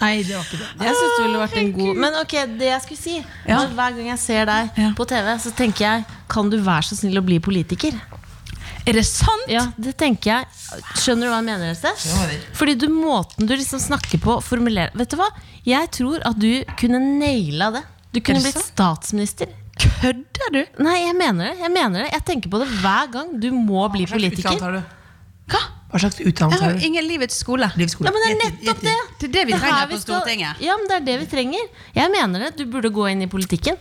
[SPEAKER 3] Nei, det var ikke det.
[SPEAKER 4] Jeg synes det ville vært en god Men ok, det jeg skulle si
[SPEAKER 5] Ja.
[SPEAKER 4] var at Hver gang jeg ser deg
[SPEAKER 5] Ja.
[SPEAKER 4] på TV, så tenker jeg Kan du være så snill å bli politiker?
[SPEAKER 5] Er det sant?
[SPEAKER 4] Ja, det tenker jeg Skjønner du hva jeg mener,
[SPEAKER 3] hva jeg
[SPEAKER 4] Else?
[SPEAKER 3] mener.
[SPEAKER 4] Fordi du, måten du liksom snakker på formulerer, Vet du hva? Jeg tror at du kunne naila det Du
[SPEAKER 5] Er
[SPEAKER 4] kunne
[SPEAKER 5] det
[SPEAKER 4] blitt
[SPEAKER 5] sant?
[SPEAKER 4] statsminister
[SPEAKER 5] Kødder du?
[SPEAKER 4] Nei, jeg mener det, jeg mener det Jeg tenker på det hver gang du må bli politiker
[SPEAKER 3] Hva slags utdannelse har du?
[SPEAKER 5] Hva?
[SPEAKER 3] Hva slags
[SPEAKER 5] Jeg
[SPEAKER 3] utdannelse
[SPEAKER 5] har
[SPEAKER 3] har
[SPEAKER 5] jo
[SPEAKER 3] du?
[SPEAKER 5] ingen livets skole.
[SPEAKER 4] Ja,
[SPEAKER 3] Livsskole.
[SPEAKER 4] men det er
[SPEAKER 3] Gjett- gjett-
[SPEAKER 4] nettopp det
[SPEAKER 5] Det er det vi
[SPEAKER 4] her
[SPEAKER 5] trenger på
[SPEAKER 4] vi skal-
[SPEAKER 5] Stortinget.
[SPEAKER 4] Ja, men det er det vi trenger Jeg mener det, du burde gå inn i politikken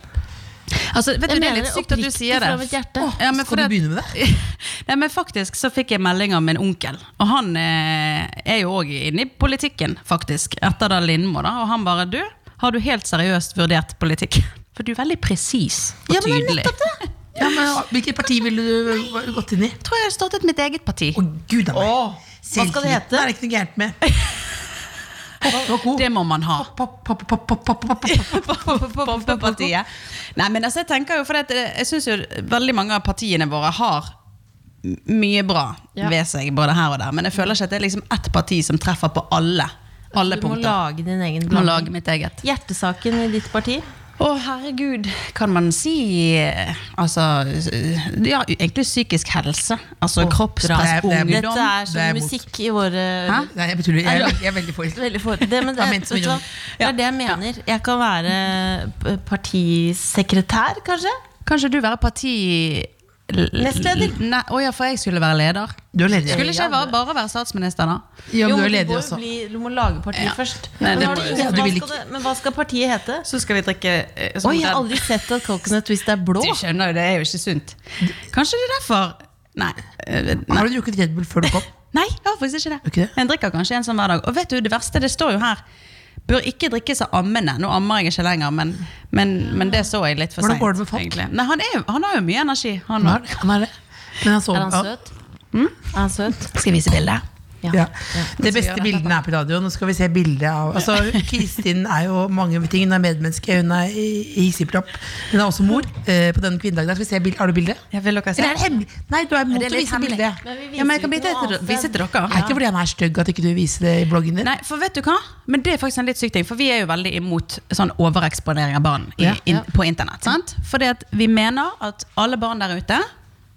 [SPEAKER 5] Altså, vet du,
[SPEAKER 4] Jeg
[SPEAKER 5] det er
[SPEAKER 4] mener
[SPEAKER 5] litt
[SPEAKER 4] det
[SPEAKER 5] sykt at du
[SPEAKER 4] oppriktig
[SPEAKER 5] sier det.
[SPEAKER 4] fra mitt hjerte.
[SPEAKER 5] Åh, ja, men for
[SPEAKER 3] Skal du
[SPEAKER 5] det-
[SPEAKER 3] begynne med det?
[SPEAKER 5] <laughs> Nei, men faktisk så fikk jeg melding av min onkel, og han eh, er jo òg inne i politikken, faktisk, etter da Lindmo, da, og han bare Du, har du helt seriøst vurdert politikk? <laughs> For du er veldig presis og
[SPEAKER 4] Ja, men det er
[SPEAKER 5] tydelig.
[SPEAKER 4] nettopp det
[SPEAKER 3] Ja, men Hvilket parti ville du hva- gått inn i?
[SPEAKER 5] Jeg tror jeg har startet mitt eget parti.
[SPEAKER 3] Å, gud a meg.
[SPEAKER 4] hva skal det
[SPEAKER 3] Selvtilliten
[SPEAKER 4] hete?
[SPEAKER 3] er det ikke noe gærent med. Hoppe og ko.
[SPEAKER 5] Det må man ha.
[SPEAKER 3] Pop, pop, pop, pop, pop, pop,
[SPEAKER 5] <laughs>
[SPEAKER 3] pop.
[SPEAKER 5] Partiet. Nei, men altså, jeg tenker jo, for det, at, eh, jeg syns jo veldig mange av partiene våre har m- mye bra
[SPEAKER 4] Ja.
[SPEAKER 5] ved seg, både her og der, men jeg føler ikke at det er liksom ett parti som treffer på alle, alle
[SPEAKER 4] Du må
[SPEAKER 5] punkter.
[SPEAKER 4] lage din egen
[SPEAKER 5] Må
[SPEAKER 4] blanding
[SPEAKER 5] lage mitt eget.
[SPEAKER 4] Hjertesaken i ditt parti
[SPEAKER 5] Å, herregud. Kan man si eh, Altså Ja, egentlig psykisk helse. Altså kroppspress,
[SPEAKER 3] det er- det er-
[SPEAKER 5] ungdom.
[SPEAKER 4] Dette er
[SPEAKER 3] det
[SPEAKER 4] sånn
[SPEAKER 3] er mot.
[SPEAKER 4] musikk i våre
[SPEAKER 5] Hæ?
[SPEAKER 3] Nei, jeg betyr, jeg, er
[SPEAKER 4] Nei,
[SPEAKER 3] veldig- jeg er veldig for.
[SPEAKER 4] Veldig for, det,
[SPEAKER 3] <laughs>
[SPEAKER 4] men det,
[SPEAKER 3] Ja, men
[SPEAKER 4] vet
[SPEAKER 3] som
[SPEAKER 4] du hva?
[SPEAKER 3] Johnny.
[SPEAKER 4] det er det jeg mener. Jeg kan være p- partisekretær, kanskje?
[SPEAKER 5] Kanskje du være parti...
[SPEAKER 4] Nestleder?
[SPEAKER 5] Nei, å ja, for jeg skulle være leder.
[SPEAKER 3] Du er leder.
[SPEAKER 5] Skulle ikke jeg være- bare være statsminister, da?
[SPEAKER 3] Ja, men du er
[SPEAKER 4] må
[SPEAKER 3] leder
[SPEAKER 4] jo
[SPEAKER 3] også.
[SPEAKER 4] bli, du må lage partiet først.
[SPEAKER 5] Nei,
[SPEAKER 4] men,
[SPEAKER 5] det
[SPEAKER 4] har
[SPEAKER 5] må
[SPEAKER 4] du
[SPEAKER 5] jeg
[SPEAKER 3] si.
[SPEAKER 4] ingen-
[SPEAKER 3] Du
[SPEAKER 4] hva
[SPEAKER 3] vil
[SPEAKER 4] skal det, men hva skal partiet hete?
[SPEAKER 5] Så skal vi drikke
[SPEAKER 4] Oi, jeg har aldri sett at Coconut Twist er blå.
[SPEAKER 5] Du skjønner jo, det er jo ikke sunt. Kanskje det er derfor Nei. eh, nei.
[SPEAKER 3] Har du drukket Red Bull før du kom?
[SPEAKER 5] Nei, jeg har faktisk ikke det.
[SPEAKER 3] Ikke det?
[SPEAKER 5] Jeg drikker kanskje en sånn hver dag. Og vet du, det verste, det står jo her Bør ikke drikkes av ammende. Nå ammer jeg ikke lenger, men, men, men det så jeg litt for
[SPEAKER 3] Hvordan
[SPEAKER 5] seint.
[SPEAKER 3] går det med folk?
[SPEAKER 5] Nei, han, er, jo- han har jo mye energi. Han,
[SPEAKER 3] Han er, han er det. Men han så,
[SPEAKER 4] Er han
[SPEAKER 3] ja.
[SPEAKER 4] søt? Mm? Er han søt?
[SPEAKER 5] skal jeg vise bildet?
[SPEAKER 3] Ja. Det beste bildene er på radio. Nå skal vi se bildet av altså, Kristin er jo mange ting. Hun er medmenneske, hun er i- i hissiplopp. Hun er også mor eh, på den kvinnedagen. Der skal vi se bild- Har du bilde?
[SPEAKER 5] Jeg vil dere se.
[SPEAKER 3] Eller er det hemmelig? Nei, du er imot
[SPEAKER 5] det
[SPEAKER 3] å
[SPEAKER 5] litt
[SPEAKER 3] vise
[SPEAKER 5] hemmelig?
[SPEAKER 3] bildet.
[SPEAKER 4] Men vi viser
[SPEAKER 5] Ja, men jeg kan
[SPEAKER 4] jo
[SPEAKER 5] vise
[SPEAKER 4] ikke noe
[SPEAKER 5] til,
[SPEAKER 4] annet
[SPEAKER 5] vise
[SPEAKER 4] sted.
[SPEAKER 5] til dere.
[SPEAKER 3] Er ikke fordi han er stygg at ikke du viser det i bloggen din?
[SPEAKER 5] Nei, for vet du hva? Men det er faktisk en litt syk ting, for vi er jo veldig imot sånn overeksponering av barn i,
[SPEAKER 3] Ja.
[SPEAKER 5] in, på internett. sant? Fordi at vi mener at alle barn der ute,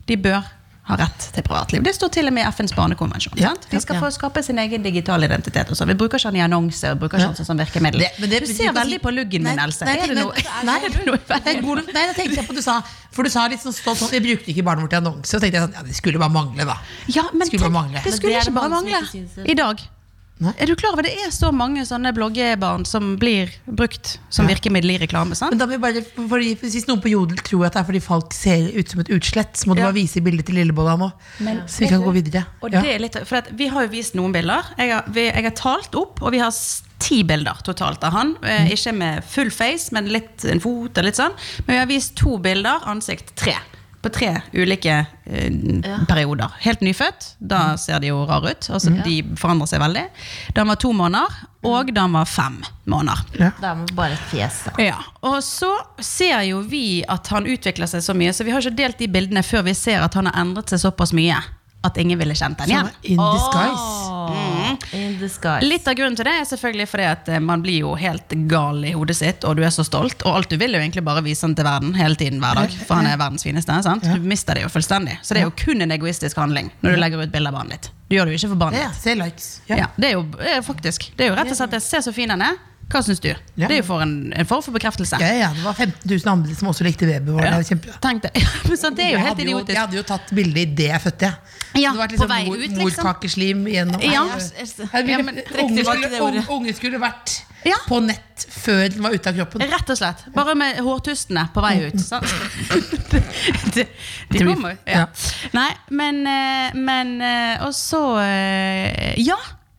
[SPEAKER 5] de bør ha rett til privatliv. Det står til og med i FNs barnekonvensjon.
[SPEAKER 3] Ja.
[SPEAKER 5] sant? De skal få skape sin egen digital identitet. og sånn. Vi bruker ikke den i annonser, vi bruker ikke den som virkemiddel.
[SPEAKER 3] Det- men det-
[SPEAKER 5] du ser
[SPEAKER 3] kan
[SPEAKER 5] veldig
[SPEAKER 3] si-
[SPEAKER 5] på luggen
[SPEAKER 3] Nei,
[SPEAKER 5] min, Else.
[SPEAKER 3] Nei,
[SPEAKER 5] er det
[SPEAKER 3] men-
[SPEAKER 5] noe? <laughs>
[SPEAKER 3] nei,
[SPEAKER 5] er det noe i
[SPEAKER 3] nei,
[SPEAKER 5] veien?
[SPEAKER 3] god, nei, det tenkte jeg på du sa. For du sa litt sånn stolt sånn Jeg brukte ikke barnet vårt i annonse. Og så tenkte jeg sånn, ja, det skulle bare mangle, da.
[SPEAKER 5] Ja, men
[SPEAKER 3] Skulle bare mangle. Men
[SPEAKER 5] tenk, det skulle
[SPEAKER 4] det er det
[SPEAKER 5] ikke bare
[SPEAKER 4] mange som
[SPEAKER 5] mangle
[SPEAKER 4] ikke synes det.
[SPEAKER 5] i dag.
[SPEAKER 3] Nei.
[SPEAKER 5] Er du klar over Det er så mange sånne bloggebarn som blir brukt som virkemiddel i reklame. sant?
[SPEAKER 3] Men da må jeg bare, fordi, Hvis noen på Jodel tror at det er fordi folk ser ut som et utslett, så må du
[SPEAKER 5] Ja.
[SPEAKER 3] bare vise bildet til Lillebolla nå. Så vi kan gå videre.
[SPEAKER 5] Og
[SPEAKER 3] Ja.
[SPEAKER 5] det er litt, for at vi har jo vist noen bilder. Jeg har, vi, jeg har talt opp, og vi har s- ti bilder totalt av han. Eh, Ikke med full face, men litt en fot og litt sånn. Men vi har vist to bilder, ansikt tre. På tre ulike eh, perioder. Helt nyfødt, da ser de jo rare ut. Altså, De forandrer seg veldig. Da han var to måneder, og da han var fem måneder.
[SPEAKER 4] Det er bare et fjes. da.
[SPEAKER 5] Ja, og så ser jo vi at han utvikler seg så mye, så vi har ikke delt de bildene før vi ser at han har endret seg såpass mye at ingen ville kjent han igjen.
[SPEAKER 3] In disguise.
[SPEAKER 4] Åh, In the sky.
[SPEAKER 5] Litt av grunnen til det er selvfølgelig fordi at eh, man blir jo helt gal i hodet sitt, og du er så stolt, og alt du vil er jo egentlig bare vise han til verden hele tiden hver dag, for han er verdens fineste, sant? Du mister det jo fullstendig. Så det er jo kun en egoistisk handling når du legger ut bilder av barnet ditt. Du gjør det jo ikke for barnet
[SPEAKER 3] Ja,
[SPEAKER 5] ditt.
[SPEAKER 3] se likes. Ja.
[SPEAKER 5] Ja, det er jo eh, faktisk. Det er jo rett og slett det. Se så fin han er. Hva syns du? Det er jo for en, en form for bekreftelse.
[SPEAKER 3] Ja, ja, det var 15 000 andre som også likte babyen vår.
[SPEAKER 5] Ja.
[SPEAKER 3] Det var kjempe-
[SPEAKER 5] Tenk <laughs> det. Ja, men sant, det er
[SPEAKER 3] Jeg
[SPEAKER 5] jo helt
[SPEAKER 3] hadde jo- Jeg
[SPEAKER 5] idiotisk.
[SPEAKER 3] hadde jo tatt bilde idet jeg fødte. jeg.
[SPEAKER 5] Ja,
[SPEAKER 3] det var
[SPEAKER 5] på vei
[SPEAKER 3] mor,
[SPEAKER 5] ut, liksom.
[SPEAKER 3] morkakeslim gjennom
[SPEAKER 5] Ja.
[SPEAKER 3] Nei, jeg- jeg ville-
[SPEAKER 5] Ja, men trekk
[SPEAKER 3] unge,
[SPEAKER 5] tilbake
[SPEAKER 3] skulle,
[SPEAKER 5] det ordet.
[SPEAKER 3] unge, unge skulle vært
[SPEAKER 5] Ja.
[SPEAKER 3] på nett før den var ute av kroppen.
[SPEAKER 5] Rett og slett. Bare med hårtustene på vei ut.
[SPEAKER 3] <laughs>
[SPEAKER 5] Sant? De, de
[SPEAKER 3] Tror-
[SPEAKER 5] kommer.
[SPEAKER 3] ja.
[SPEAKER 5] Ja. Nei, men, eh, men eh, Og så eh, Ja!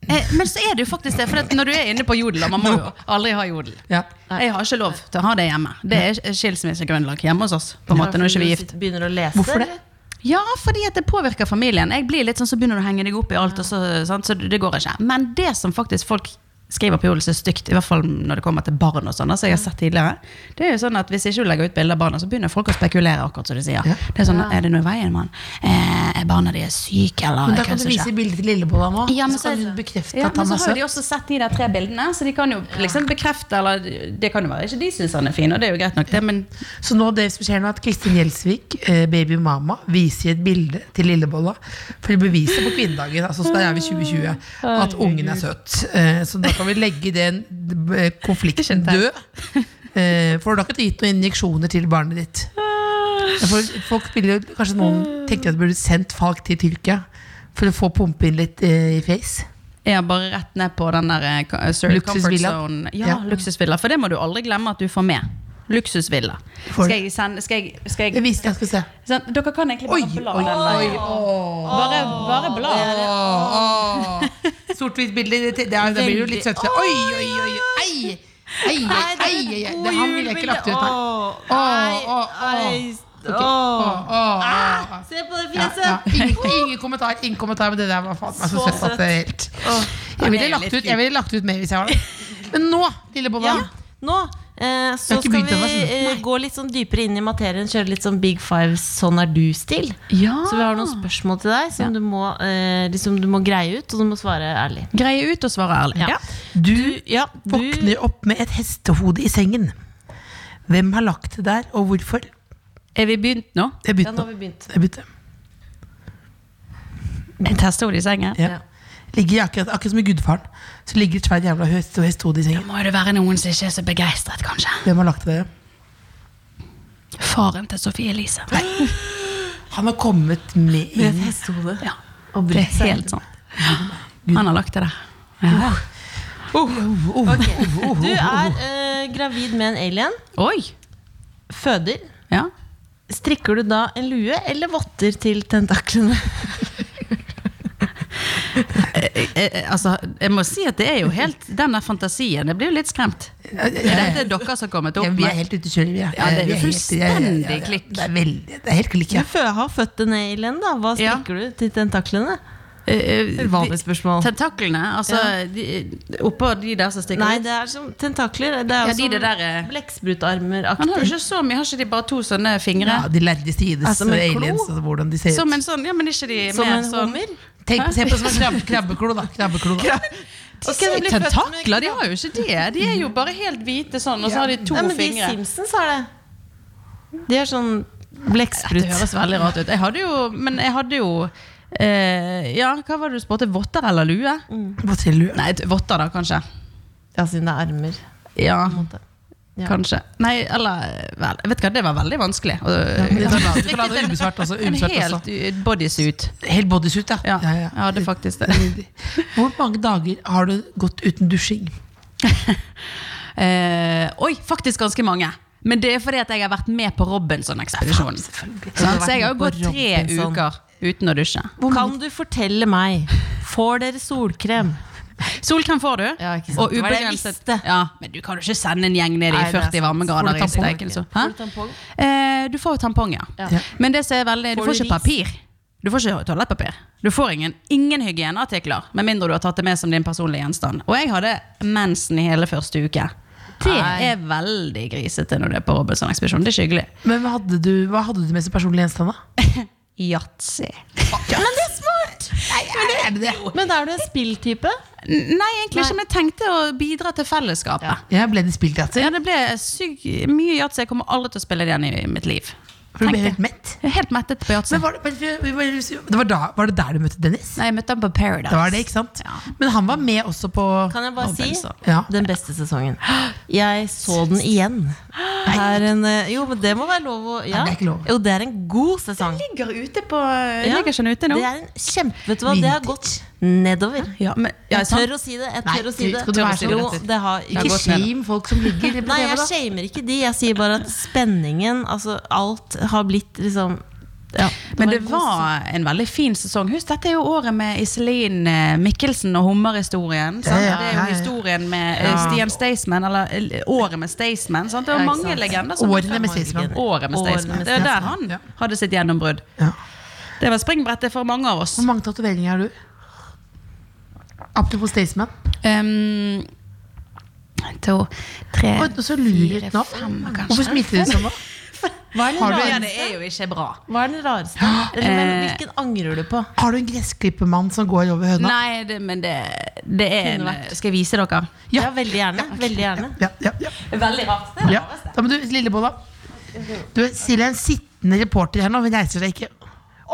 [SPEAKER 5] Eh, Men så er det jo faktisk det. For at når du er inne på jodel, og man må jo aldri ha jodel
[SPEAKER 3] Ja.
[SPEAKER 5] Jeg har ikke lov til å ha det hjemme. Det er skilsmissegrunnlag hjemme hos oss. På en måte, når ikke vi er gift.
[SPEAKER 4] Begynner å lese.
[SPEAKER 3] Hvorfor det?
[SPEAKER 4] eller?
[SPEAKER 5] Ja, fordi at det påvirker familien. Jeg blir litt sånn, Så begynner du å henge deg opp i alt, og så, sant? så det går ikke. Men det som faktisk folk skriver på jodel som er stygt, i hvert fall når det kommer til barn, og sånn, altså jeg har sett tidligere, det er jo sånn at hvis ikke du legger ut bilder av barna, så begynner folk å spekulere, akkurat som du sier. Det Er sånn, er det noe i veien med han? Eh, er barna de er syke, eller
[SPEAKER 3] Men da kan du
[SPEAKER 5] kanskje ikke?
[SPEAKER 3] vise bildet til Lillebolla nå.
[SPEAKER 5] Ja, men
[SPEAKER 3] så kan
[SPEAKER 5] så-
[SPEAKER 3] hun bekrefte
[SPEAKER 5] Ja,
[SPEAKER 3] at
[SPEAKER 5] men
[SPEAKER 3] han
[SPEAKER 5] så
[SPEAKER 3] er
[SPEAKER 5] har jo de
[SPEAKER 3] søt.
[SPEAKER 5] også sett de der tre bildene, så de kan jo liksom bekrefte, eller det kan jo være ikke de syns han er fin, og det er jo greit nok, det, men
[SPEAKER 3] Så nå det som skjer nå er at Kristin Gjelsvik, eh, baby mamma, viser et bilde til Lillebolla for å bevise på kvinnedagen, altså så der er vi 2020, at ungen er søt. Eh, Så da kan vi legge den eh, konflikten død. Eh, For du har ikke gitt noen injeksjoner til barnet ditt. Folk, folk vil jo, kanskje noen tenker at du burde sendt Falk til Tyrkia for å få pumpe inn litt eh, i face.
[SPEAKER 5] Ja, bare rett ned på den der eh, ka- sorry,
[SPEAKER 3] Luksusvilla.
[SPEAKER 5] comfort zone. Ja,
[SPEAKER 3] Ja.
[SPEAKER 5] luksusvilla. For det må du aldri glemme at du får med. Luksusvilla.
[SPEAKER 3] Får
[SPEAKER 5] Skal
[SPEAKER 3] det.
[SPEAKER 5] jeg sende Skal jeg, skal
[SPEAKER 3] Jeg
[SPEAKER 5] jeg
[SPEAKER 3] viser deg, skal vi se.
[SPEAKER 5] sånn, Dere kan egentlig
[SPEAKER 3] Oi,
[SPEAKER 5] bare bla
[SPEAKER 3] oi,
[SPEAKER 5] den veien. Bare, bare bla.
[SPEAKER 3] Åh, <laughs> åh. Sort-hvitt bilde, det, det, er- det blir jo litt søtere. Oi, oi, oi, oi. Ei, ei, ei, ei, ei. Det han ville jeg ikke lagt ut her.
[SPEAKER 4] Åh,
[SPEAKER 3] Åh, åh, åh.
[SPEAKER 4] ei, ei,
[SPEAKER 3] Åh,
[SPEAKER 4] åh. Ah,
[SPEAKER 3] åh, åh.
[SPEAKER 4] Se på det
[SPEAKER 3] Ja, ja.
[SPEAKER 4] fjeset!
[SPEAKER 3] Ingen, ingen kommentar, ingen kommentar, men det der var faen meg så
[SPEAKER 4] Så
[SPEAKER 3] søtt at det er helt Jeg ville
[SPEAKER 5] det er
[SPEAKER 3] lagt
[SPEAKER 5] litt
[SPEAKER 3] ut, jeg ville lagt ut mer hvis jeg var det. Men nå, lille Bolla.
[SPEAKER 4] Ja. Nå eh, så
[SPEAKER 3] har ikke
[SPEAKER 4] skal
[SPEAKER 3] begynt ennå,
[SPEAKER 4] vi
[SPEAKER 3] skjønner du.
[SPEAKER 4] eh, gå litt sånn dypere inn i materien. Kjøre litt sånn Big Five sånn er du-stil.
[SPEAKER 5] Ja.
[SPEAKER 4] Så vi har
[SPEAKER 3] Ah.
[SPEAKER 4] noen spørsmål til deg som du, må, eh, liksom du må greie ut, og du må svare ærlig.
[SPEAKER 5] Greie ut og svare ærlig.
[SPEAKER 4] Ja.
[SPEAKER 5] Ja.
[SPEAKER 3] Du
[SPEAKER 4] Ja, du
[SPEAKER 3] våkner opp med et hestehode i sengen. Hvem har lagt det der, og hvorfor?
[SPEAKER 5] Er vi begynt nå?
[SPEAKER 3] Jeg
[SPEAKER 4] Ja,
[SPEAKER 3] begynte
[SPEAKER 4] nå
[SPEAKER 3] nå.
[SPEAKER 4] har vi begynt.
[SPEAKER 3] Jeg begynte.
[SPEAKER 5] Der sto de i sengen.
[SPEAKER 3] Ja.
[SPEAKER 4] Ja.
[SPEAKER 3] Ligger i akkurat, akkurat som i Gudfaren, så ligger et svært jævla hest- hestehode i
[SPEAKER 5] Da
[SPEAKER 3] sengen.
[SPEAKER 5] må det være noen som ikke er så begeistret, kanskje.
[SPEAKER 3] Hvem har lagt det der?
[SPEAKER 5] Faren til Sofie Elise.
[SPEAKER 3] Han har kommet med
[SPEAKER 4] Med et
[SPEAKER 3] inn.
[SPEAKER 4] hestehode.
[SPEAKER 5] Ja,
[SPEAKER 4] Og
[SPEAKER 5] det er
[SPEAKER 4] brukt seg.
[SPEAKER 5] helt sånn. Han har lagt det der. Ja.
[SPEAKER 3] Oh,
[SPEAKER 4] Du er eh, gravid med en alien.
[SPEAKER 5] Oi!
[SPEAKER 4] Føder.
[SPEAKER 5] Ja.
[SPEAKER 4] Strikker du da en lue eller votter til tentaklene?
[SPEAKER 5] Eh, eh, altså, jeg må si at det er jo helt den der fantasien. Jeg blir jo litt skremt. Dette er dere som har kommet opp
[SPEAKER 3] Ja, vi er
[SPEAKER 5] med
[SPEAKER 3] helt ute å kjøre. Vi er,
[SPEAKER 5] Ja, det er
[SPEAKER 3] vi helt- ja, ja, ja,
[SPEAKER 5] fullstendig
[SPEAKER 3] ja, ja.
[SPEAKER 5] klikk.
[SPEAKER 3] Det er, veldig, det er helt klikk,
[SPEAKER 4] Du
[SPEAKER 3] ja.
[SPEAKER 4] fø har født en alien, da. Hva
[SPEAKER 5] Ja.
[SPEAKER 4] strikker du til tentaklene?
[SPEAKER 5] eh, eh,
[SPEAKER 4] Vanlig spørsmål.
[SPEAKER 5] Tentaklene, altså de, oppå de der som stikker
[SPEAKER 4] Nei,
[SPEAKER 5] ut.
[SPEAKER 4] det er som tentakler. Det
[SPEAKER 5] Ja,
[SPEAKER 4] er sånn
[SPEAKER 5] de det der, eh. Han har jo
[SPEAKER 4] blekksprutarmer-aktig.
[SPEAKER 5] ikke så mye, har ikke de bare to sånne fingre?
[SPEAKER 3] ja Altså, de lærde sides
[SPEAKER 4] Som en klo?
[SPEAKER 3] aliens og hvordan de ser
[SPEAKER 5] Som
[SPEAKER 3] ut.
[SPEAKER 5] en sånn, ja, men ikke de
[SPEAKER 4] Som
[SPEAKER 5] mer
[SPEAKER 4] en
[SPEAKER 5] sånn
[SPEAKER 4] hummer?
[SPEAKER 3] Tenk, se på det som en krabbe, krabbeklo, da. Krabbeklo, da.
[SPEAKER 5] Og så
[SPEAKER 4] Skal de bli født med
[SPEAKER 5] Tentakler, de har jo ikke det. De er jo bare helt hvite sånn, og så har de to
[SPEAKER 4] Nei, men de
[SPEAKER 5] fingre.
[SPEAKER 4] Simpsons har det. De er sånn
[SPEAKER 5] Det
[SPEAKER 4] blekksprut.
[SPEAKER 5] høres veldig rart ut. Jeg hadde jo, men jeg hadde jo eh, Ja, hva var det du spurte? Votter eller lue?
[SPEAKER 3] Hva sier du?
[SPEAKER 5] Nei, et- votter da, kanskje.
[SPEAKER 4] Ja, siden det er armer.
[SPEAKER 5] Ja,
[SPEAKER 4] måte. Ja.
[SPEAKER 5] kanskje. Nei, eller vel, Vet du hva, det var veldig vanskelig. Og-
[SPEAKER 3] Du kan la du kan la det ubesvart <laughs> også.
[SPEAKER 5] En
[SPEAKER 3] Ubesvart også.
[SPEAKER 5] helt u- bodysuit.
[SPEAKER 3] Helt bodysuit, ja.
[SPEAKER 5] Ja,
[SPEAKER 3] Ja, ja.
[SPEAKER 5] jeg hadde faktisk det.
[SPEAKER 3] Hvor mange dager har du gått uten dusjing?
[SPEAKER 5] Eh, oi, faktisk ganske mange. Men det er fordi at jeg har vært med på Robinson-ekspedisjonen. Sant? Så jeg har jo gått tre
[SPEAKER 4] Robinson.
[SPEAKER 5] uker uten å dusje.
[SPEAKER 4] Kan du fortelle meg Får dere solkrem?
[SPEAKER 5] Solkrem får du,
[SPEAKER 4] Ja, ikke sant.
[SPEAKER 5] og
[SPEAKER 4] Det var det jeg
[SPEAKER 5] ubegrenset.
[SPEAKER 4] visste.
[SPEAKER 5] Ja, men du kan jo ikke sende en gjeng ned i
[SPEAKER 4] Nei, det er
[SPEAKER 5] 40
[SPEAKER 4] sant.
[SPEAKER 5] varmegrader.
[SPEAKER 3] Får du
[SPEAKER 5] i
[SPEAKER 3] tampong?
[SPEAKER 5] steiken, så.
[SPEAKER 4] Får du tampong?
[SPEAKER 5] Hæ? Eh, du får jo tampong, ja.
[SPEAKER 3] Ja.
[SPEAKER 5] Men det som er veldig, du
[SPEAKER 4] Får
[SPEAKER 5] får
[SPEAKER 4] du
[SPEAKER 5] ikke
[SPEAKER 4] ris?
[SPEAKER 5] papir. Du får ikke toalettpapir. Du får ingen, ingen hygieneartikler, med mindre du har tatt det med som din personlige gjenstand. Og jeg hadde mensen i hele første uke. Det
[SPEAKER 4] Nei.
[SPEAKER 5] er veldig grisete når du er på Robinson-ekspedisjon. Det er ikke hyggelig.
[SPEAKER 3] Men hva hadde du, hva hadde du med som personlig gjenstand, da?
[SPEAKER 4] <laughs>
[SPEAKER 5] Yatzy.
[SPEAKER 4] Men det er smart!
[SPEAKER 3] Er det det?
[SPEAKER 4] Men er du en spilltype?
[SPEAKER 5] Nei, egentlig
[SPEAKER 4] Nei.
[SPEAKER 5] ikke, men jeg tenkte å bidra til fellesskapet.
[SPEAKER 3] Jeg ble det spilt yatzy.
[SPEAKER 5] Ja, det ble syk, mye yatzy. Jeg kommer aldri til å spille det igjen i mitt liv.
[SPEAKER 3] For du ble
[SPEAKER 5] Tenkte.
[SPEAKER 3] helt mett.
[SPEAKER 5] Jeg er helt mettet på yatzy.
[SPEAKER 3] Men var det, men vi- vi- det var, da, var det der du møtte Dennis?
[SPEAKER 5] Nei, jeg møtte han på Paradise.
[SPEAKER 3] Det var det, ikke sant?
[SPEAKER 5] Ja.
[SPEAKER 3] Men han var med også på
[SPEAKER 4] Kan jeg bare si
[SPEAKER 5] Robinson.
[SPEAKER 3] Ja.
[SPEAKER 4] den beste sesongen? Jeg så den igjen. Er en, eh, jo, men det må være lov å ja.
[SPEAKER 3] Nei, det er ikke lov.
[SPEAKER 4] Jo, det er en god sesong.
[SPEAKER 5] Ligger ute på eh,
[SPEAKER 4] Ja.
[SPEAKER 5] Ligger ikke han ute nå?
[SPEAKER 4] Det er en kjempe, vet du hva, det har gått nedover.
[SPEAKER 5] Ja, men ja,
[SPEAKER 4] Jeg
[SPEAKER 5] sant?
[SPEAKER 4] tør å si det. Jeg
[SPEAKER 3] Nei,
[SPEAKER 4] tør å si
[SPEAKER 3] du-
[SPEAKER 4] det.
[SPEAKER 3] skal du være så
[SPEAKER 4] Jo,
[SPEAKER 3] rett ut?
[SPEAKER 4] det har
[SPEAKER 5] har
[SPEAKER 4] ikke
[SPEAKER 5] gått
[SPEAKER 3] Ikke shame folk som ligger på
[SPEAKER 4] Nei,
[SPEAKER 3] TV,
[SPEAKER 4] jeg
[SPEAKER 3] da.
[SPEAKER 4] shamer ikke de. Jeg sier bare at spenningen, altså alt, har blitt liksom ja,
[SPEAKER 5] Men det
[SPEAKER 4] en god sesong.
[SPEAKER 5] var en veldig fin sesong. Husk, dette er jo året med Iselin eh, Mikkelsen og hummerhistorien. sant?
[SPEAKER 3] Ja, ja,
[SPEAKER 5] Det er
[SPEAKER 3] ja,
[SPEAKER 5] jo
[SPEAKER 3] ja.
[SPEAKER 5] historien med eh, Stian Staysman, eller eh, året med Staysman. sant? Det er
[SPEAKER 4] Ja,
[SPEAKER 5] jo
[SPEAKER 4] ikke
[SPEAKER 5] mange
[SPEAKER 4] sant.
[SPEAKER 5] legender som
[SPEAKER 3] Årene med Staysman.
[SPEAKER 5] Året med
[SPEAKER 4] Året
[SPEAKER 5] Staysman.
[SPEAKER 4] med
[SPEAKER 5] Det er der
[SPEAKER 4] Staysman.
[SPEAKER 5] han
[SPEAKER 3] Ja.
[SPEAKER 5] hadde sitt gjennombrudd.
[SPEAKER 3] Ja.
[SPEAKER 5] Det var springbrettet for mange av oss.
[SPEAKER 3] Hvor mange tatoveringer har du? Apropos Staysman.
[SPEAKER 5] Um, to, tre,
[SPEAKER 3] Oi, Og så lurer jeg
[SPEAKER 5] fire,
[SPEAKER 3] nå.
[SPEAKER 5] fem, kanskje.
[SPEAKER 3] Hvorfor smilte du sånn nå?
[SPEAKER 4] Hva er den
[SPEAKER 3] Har du en-
[SPEAKER 5] Ja,
[SPEAKER 4] rareste?
[SPEAKER 5] det er jo ikke bra.
[SPEAKER 4] Hva er den rareste? Eller hvem,
[SPEAKER 5] Eh.
[SPEAKER 4] hvilken angrer du på?
[SPEAKER 3] Har du en gressklippermann som går over høna?
[SPEAKER 5] Nei, det, men det, det er en
[SPEAKER 4] vært.
[SPEAKER 5] Skal jeg vise dere?
[SPEAKER 4] Ja,
[SPEAKER 3] Ja.
[SPEAKER 4] veldig gjerne. Veldig gjerne.
[SPEAKER 3] Ja, ja, ja.
[SPEAKER 5] Veldig rart.
[SPEAKER 3] ja. Da må du, Lillebolla. Du, Silje er en sittende reporter her nå. Hun reiser seg ikke.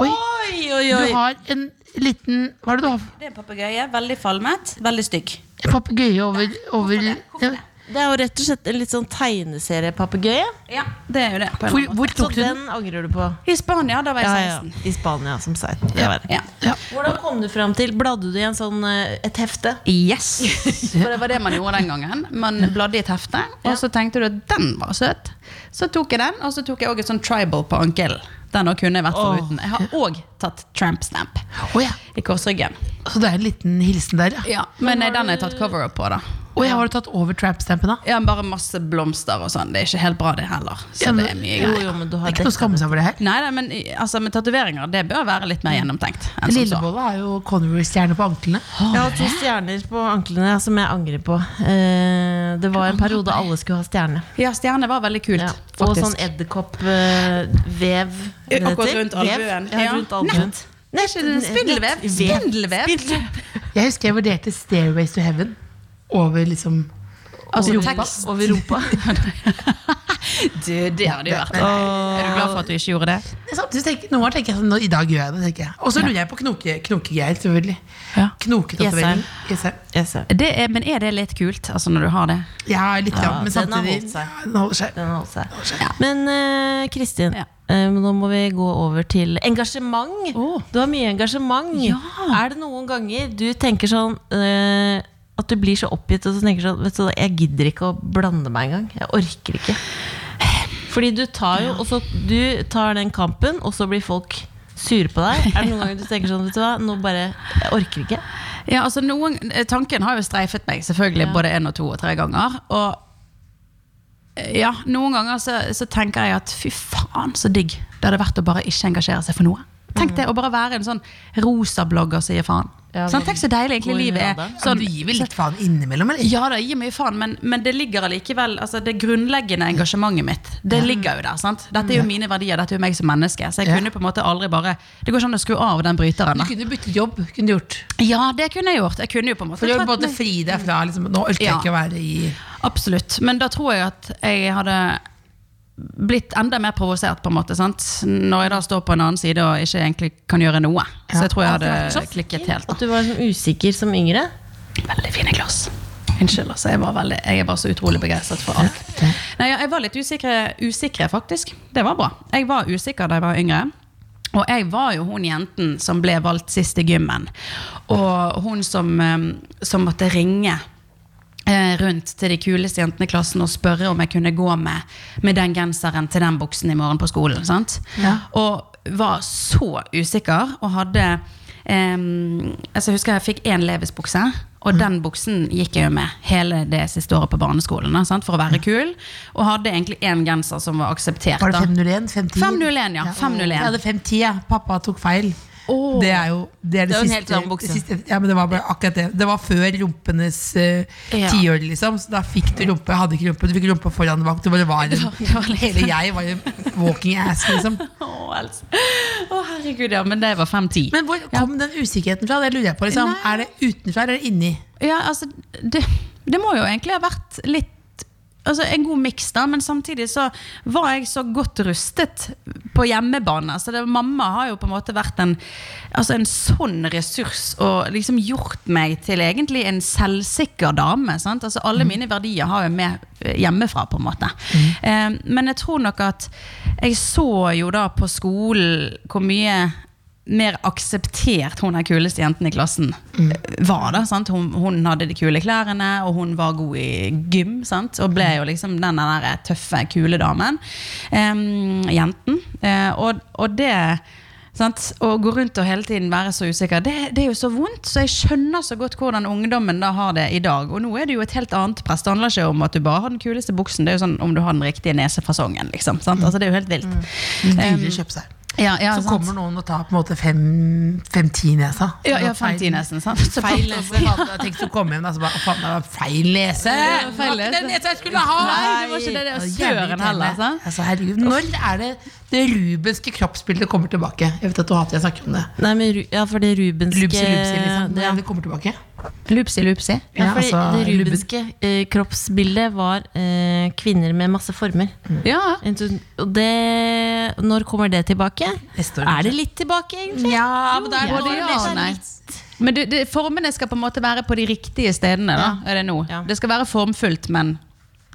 [SPEAKER 3] Oi,
[SPEAKER 4] Oi, oi,
[SPEAKER 3] du
[SPEAKER 4] oi!
[SPEAKER 3] har en liten Hva er det du har?
[SPEAKER 5] Det er en papegøye. Veldig falmet. Veldig stygg.
[SPEAKER 3] En Papegøye over, over
[SPEAKER 5] Hvorfor det?
[SPEAKER 4] Det er jo rett og slett en litt sånn tegneseriepapegøye.
[SPEAKER 5] Ja, det er jo det. på en
[SPEAKER 3] hvor,
[SPEAKER 5] eller annen måte.
[SPEAKER 3] hvor
[SPEAKER 4] Så
[SPEAKER 3] tok du den?
[SPEAKER 4] den angrer du på.
[SPEAKER 5] I Spania, da var
[SPEAKER 4] Ja,
[SPEAKER 5] jeg
[SPEAKER 4] ja.
[SPEAKER 5] 16.
[SPEAKER 4] I Spania, som sagt. Det var det.
[SPEAKER 5] Ja.
[SPEAKER 4] Hvordan kom du fram til Bladde du i en sånn, eh, et hefte?
[SPEAKER 5] <laughs> Yes! For det var det man gjorde den gangen. Man bladde i et hefte, og så tenkte du at den var søt. Så tok jeg den, og så tok jeg òg et sånn tribal på ankelen. Den også kunne jeg vært foruten. Jeg har òg tatt tramp stamp
[SPEAKER 3] Å ja.
[SPEAKER 5] i korsryggen.
[SPEAKER 3] Så det er en liten hilsen der, ja.
[SPEAKER 5] Ja, men eh, den har jeg tatt cover up på, da.
[SPEAKER 3] Å ja, har du tatt over trapstampen, da?
[SPEAKER 5] Ja, bare masse blomster og sånn. Det er ikke helt bra, det heller. Så
[SPEAKER 3] Ja, men-
[SPEAKER 5] det er mye
[SPEAKER 4] Jo,
[SPEAKER 5] greier.
[SPEAKER 4] jo, men du
[SPEAKER 3] Det
[SPEAKER 4] har
[SPEAKER 3] er ikke noe å
[SPEAKER 4] dekket
[SPEAKER 3] skamme seg over det her.
[SPEAKER 5] Nei, nei, men i- altså, med tatoveringer det bør være litt mer gjennomtenkt. enn som så.
[SPEAKER 3] Lillebolla har jo Converse-stjerne på anklene.
[SPEAKER 4] Jeg har to stjerner på anklene ja, som jeg angrer på. Eh, det var en periode alle skulle ha stjerne.
[SPEAKER 5] Ja, stjerne var veldig kult,
[SPEAKER 4] Ja. Og
[SPEAKER 5] faktisk.
[SPEAKER 4] sånn edderkoppvev.
[SPEAKER 5] Eh, akkurat rundt albuen.
[SPEAKER 4] Ja,
[SPEAKER 5] Ja.
[SPEAKER 4] rundt albuen.
[SPEAKER 5] Nett. Det er ikke det, Spindelvev.
[SPEAKER 4] Nett.
[SPEAKER 5] Spindelvev.
[SPEAKER 3] Jeg husker jeg vurderte Stairways to Heaven over liksom
[SPEAKER 5] Altså,
[SPEAKER 3] Over rumpa.
[SPEAKER 5] <laughs> tekst.
[SPEAKER 4] Over rumpa.
[SPEAKER 5] Du, det hadde jo vært Er du glad for at du ikke gjorde det?
[SPEAKER 3] Samtidig tenker, noen ganger tenker jeg sånn nå, I dag gjør jeg det. tenker jeg Og så lurer jeg på knoke- knokegreier, selvfølgelig.
[SPEAKER 5] Ja.
[SPEAKER 3] Knoketatovering. Jessheim.
[SPEAKER 5] det er, men er det litt kult, altså når du har det?
[SPEAKER 3] Ja, litt, ja, men
[SPEAKER 6] den har
[SPEAKER 3] samtidig
[SPEAKER 6] holdt
[SPEAKER 3] ja,
[SPEAKER 6] seg.
[SPEAKER 3] Den holder seg.
[SPEAKER 6] Den holdt seg. Men eh, Kristin,
[SPEAKER 5] Ja.
[SPEAKER 6] eh, nå må vi gå over til engasjement.
[SPEAKER 5] Åh.
[SPEAKER 6] Du har mye engasjement. Er det noen ganger du tenker sånn eh, at du blir så oppgitt og så tenker sånn Vet du, hva, jeg gidder ikke å blande meg engang. Jeg orker ikke. Fordi du tar jo og så Du tar den kampen, og så blir folk sure på deg. Er det
[SPEAKER 5] <laughs>
[SPEAKER 6] noen ganger du tenker sånn Vet du hva, nå bare Jeg orker ikke.
[SPEAKER 5] Ja, altså noen, Tanken har jo streifet meg selvfølgelig både én og to og tre ganger. Og eh, ja, noen ganger så, så tenker jeg at fy faen, så digg det hadde vært å bare ikke engasjere seg for noe. Tenk det, Å bare være en sånn rosa blogger som gir faen.
[SPEAKER 6] Ja,
[SPEAKER 5] sånn, tenk så deilig
[SPEAKER 6] god
[SPEAKER 5] egentlig livet
[SPEAKER 6] rade.
[SPEAKER 5] er. Sånn,
[SPEAKER 3] Du gir vel litt faen innimellom, eller?
[SPEAKER 5] Ja da, jeg gir mye faen, men, men det ligger allikevel altså, Det grunnleggende engasjementet mitt Det ligger jo der. sant? Dette er jo mine verdier, dette er jo meg som menneske. Så jeg
[SPEAKER 3] Mm. Ja.
[SPEAKER 5] kunne på en måte aldri bare Det går ikke an å skru av den bryteren.
[SPEAKER 3] Du
[SPEAKER 5] da
[SPEAKER 3] kunne byttet jobb. kunne du gjort
[SPEAKER 5] Ja, det kunne jeg gjort. Jeg kunne jo på en måte
[SPEAKER 3] For du har
[SPEAKER 5] tatt
[SPEAKER 3] både
[SPEAKER 5] meg-
[SPEAKER 3] fri deg fra liksom, Nå orker jeg
[SPEAKER 5] Ja.
[SPEAKER 3] ikke å være i
[SPEAKER 5] Absolutt. Men da tror jeg at jeg hadde blitt enda mer provosert, på en måte. sant? Når jeg da står på en annen side og ikke egentlig kan gjøre noe. Så jeg tror jeg hadde klikket helt.
[SPEAKER 6] At
[SPEAKER 5] da.
[SPEAKER 6] du var sånn usikker som yngre.
[SPEAKER 5] Veldig fine glass. Unnskyld, altså. Jeg, var veldig, jeg er bare så utrolig begeistret for alt. Nei, ja, jeg var litt usikre, usikre, faktisk. Det var bra. Jeg var usikker da jeg var yngre. Og jeg var jo hun jenten som ble valgt sist i gymmen. Og hun som, eh, som måtte ringe eh, rundt til de kuleste jentene i klassen og spørre om jeg kunne gå med, med den genseren til den buksen i morgen på skolen. Sant? Og var så usikker og hadde em, altså Jeg husker jeg fikk én Levis-bukse,
[SPEAKER 3] Mm.
[SPEAKER 5] og den buksen gikk jeg jo med hele det siste året på barneskolen da, sant? for å være kul. Og hadde egentlig én genser som var akseptert.
[SPEAKER 3] Var det
[SPEAKER 5] da.
[SPEAKER 3] 501? 510?
[SPEAKER 5] 501, ja. 501.
[SPEAKER 3] Jeg hadde 510, ja. Pappa tok feil.
[SPEAKER 5] Åh. <laughs>
[SPEAKER 3] Det er jo det, er det,
[SPEAKER 6] Det var en helt
[SPEAKER 3] siste,
[SPEAKER 6] annen bukse.
[SPEAKER 3] det siste Ja, men det var bare akkurat det. Det var før rumpenes eh,
[SPEAKER 5] Ja.
[SPEAKER 3] tiår, liksom. Så da fikk du rumpe. Jeg Hadde ikke rumpe. Du fikk rumpe foran og bak. Du bare var en
[SPEAKER 5] det var liksom-
[SPEAKER 3] Hele jeg var en walking ass, liksom.
[SPEAKER 5] <laughs> Å, altså. Å, herregud, ja. Men det var 5-10.
[SPEAKER 3] Men hvor kom den usikkerheten fra? Det lurer jeg på. liksom
[SPEAKER 5] Nei.
[SPEAKER 3] Er det utenfra eller inni?
[SPEAKER 5] Ja, altså, det, det må jo egentlig ha vært litt Altså En god miks, da, men samtidig så var jeg så godt rustet på hjemmebane. Så det, mamma har jo på en måte vært en, altså en sånn ressurs og liksom gjort meg til egentlig en selvsikker dame. Sant? Altså Alle mine verdier har jeg med eh, hjemmefra, på en måte. Eh, men jeg tror nok at jeg så jo da på skolen hvor mye mer akseptert hun er kuleste jenten i klassen
[SPEAKER 3] Mm.
[SPEAKER 5] var. da, sant? Hun, hun hadde de kule klærne, og hun var god i gym. sant? Og ble jo liksom den der tøffe, kule damen. Em, jenten. Eh, og, og det sant? Å gå rundt og hele tiden være så usikker, det, det er jo så vondt. Så jeg skjønner så godt hvordan ungdommen da har det i dag. Og nå er det jo et helt annet press. Det handler ikke om at du bare har den kuleste buksen, det er jo sånn om du har den riktige nesefasongen. liksom, sant? Altså Det er jo helt vilt. Eh,
[SPEAKER 3] Dyrere å kjøpe seg.
[SPEAKER 5] Ja, ja,
[SPEAKER 3] Mm. Så
[SPEAKER 5] sant?
[SPEAKER 3] kommer noen og tar på en måte fem- 510 nesa.
[SPEAKER 5] ja, ja,
[SPEAKER 3] Og feil-
[SPEAKER 5] 50 nesten, sant? Så
[SPEAKER 3] Feil lese. Jeg tenkte å komme hjem, da, så bare, faen, det var feil lese.
[SPEAKER 5] Ja,
[SPEAKER 3] Det
[SPEAKER 5] feil
[SPEAKER 3] var ikke den
[SPEAKER 5] lese.
[SPEAKER 3] nesa jeg skulle ha!
[SPEAKER 5] Nei, det var ikke det, det var
[SPEAKER 3] Jævlig
[SPEAKER 5] søren
[SPEAKER 3] irriterende.
[SPEAKER 5] heller, sant?
[SPEAKER 3] Altså, herregud, når er det det rubenske kroppsbildet kommer tilbake? Jeg vet at du hater jeg snakker om det.
[SPEAKER 6] Nei, men, Ru- ja, for det rubenske
[SPEAKER 3] Lubsi, lubsi, liksom.
[SPEAKER 6] Ja.
[SPEAKER 3] Når det kommer tilbake.
[SPEAKER 5] Lupsi, lupsi.
[SPEAKER 6] Ja,
[SPEAKER 3] Ja,
[SPEAKER 6] fordi
[SPEAKER 3] altså,
[SPEAKER 6] det
[SPEAKER 3] lubben.
[SPEAKER 6] rubenske eh, kroppsbildet var eh, kvinner med masse former.
[SPEAKER 4] Mm.
[SPEAKER 5] Ja.
[SPEAKER 6] En sånn- Og det, når kommer det tilbake?
[SPEAKER 3] Neste år,
[SPEAKER 6] er det litt tilbake, egentlig?
[SPEAKER 3] Ja,
[SPEAKER 6] det er
[SPEAKER 5] både
[SPEAKER 6] noe-
[SPEAKER 5] ja og
[SPEAKER 6] det er
[SPEAKER 5] nei.
[SPEAKER 6] litt-
[SPEAKER 5] Men du, det, formene skal på en måte være på de riktige stedene, da. Er det nå?
[SPEAKER 6] Ja.
[SPEAKER 5] Det skal være formfullt, men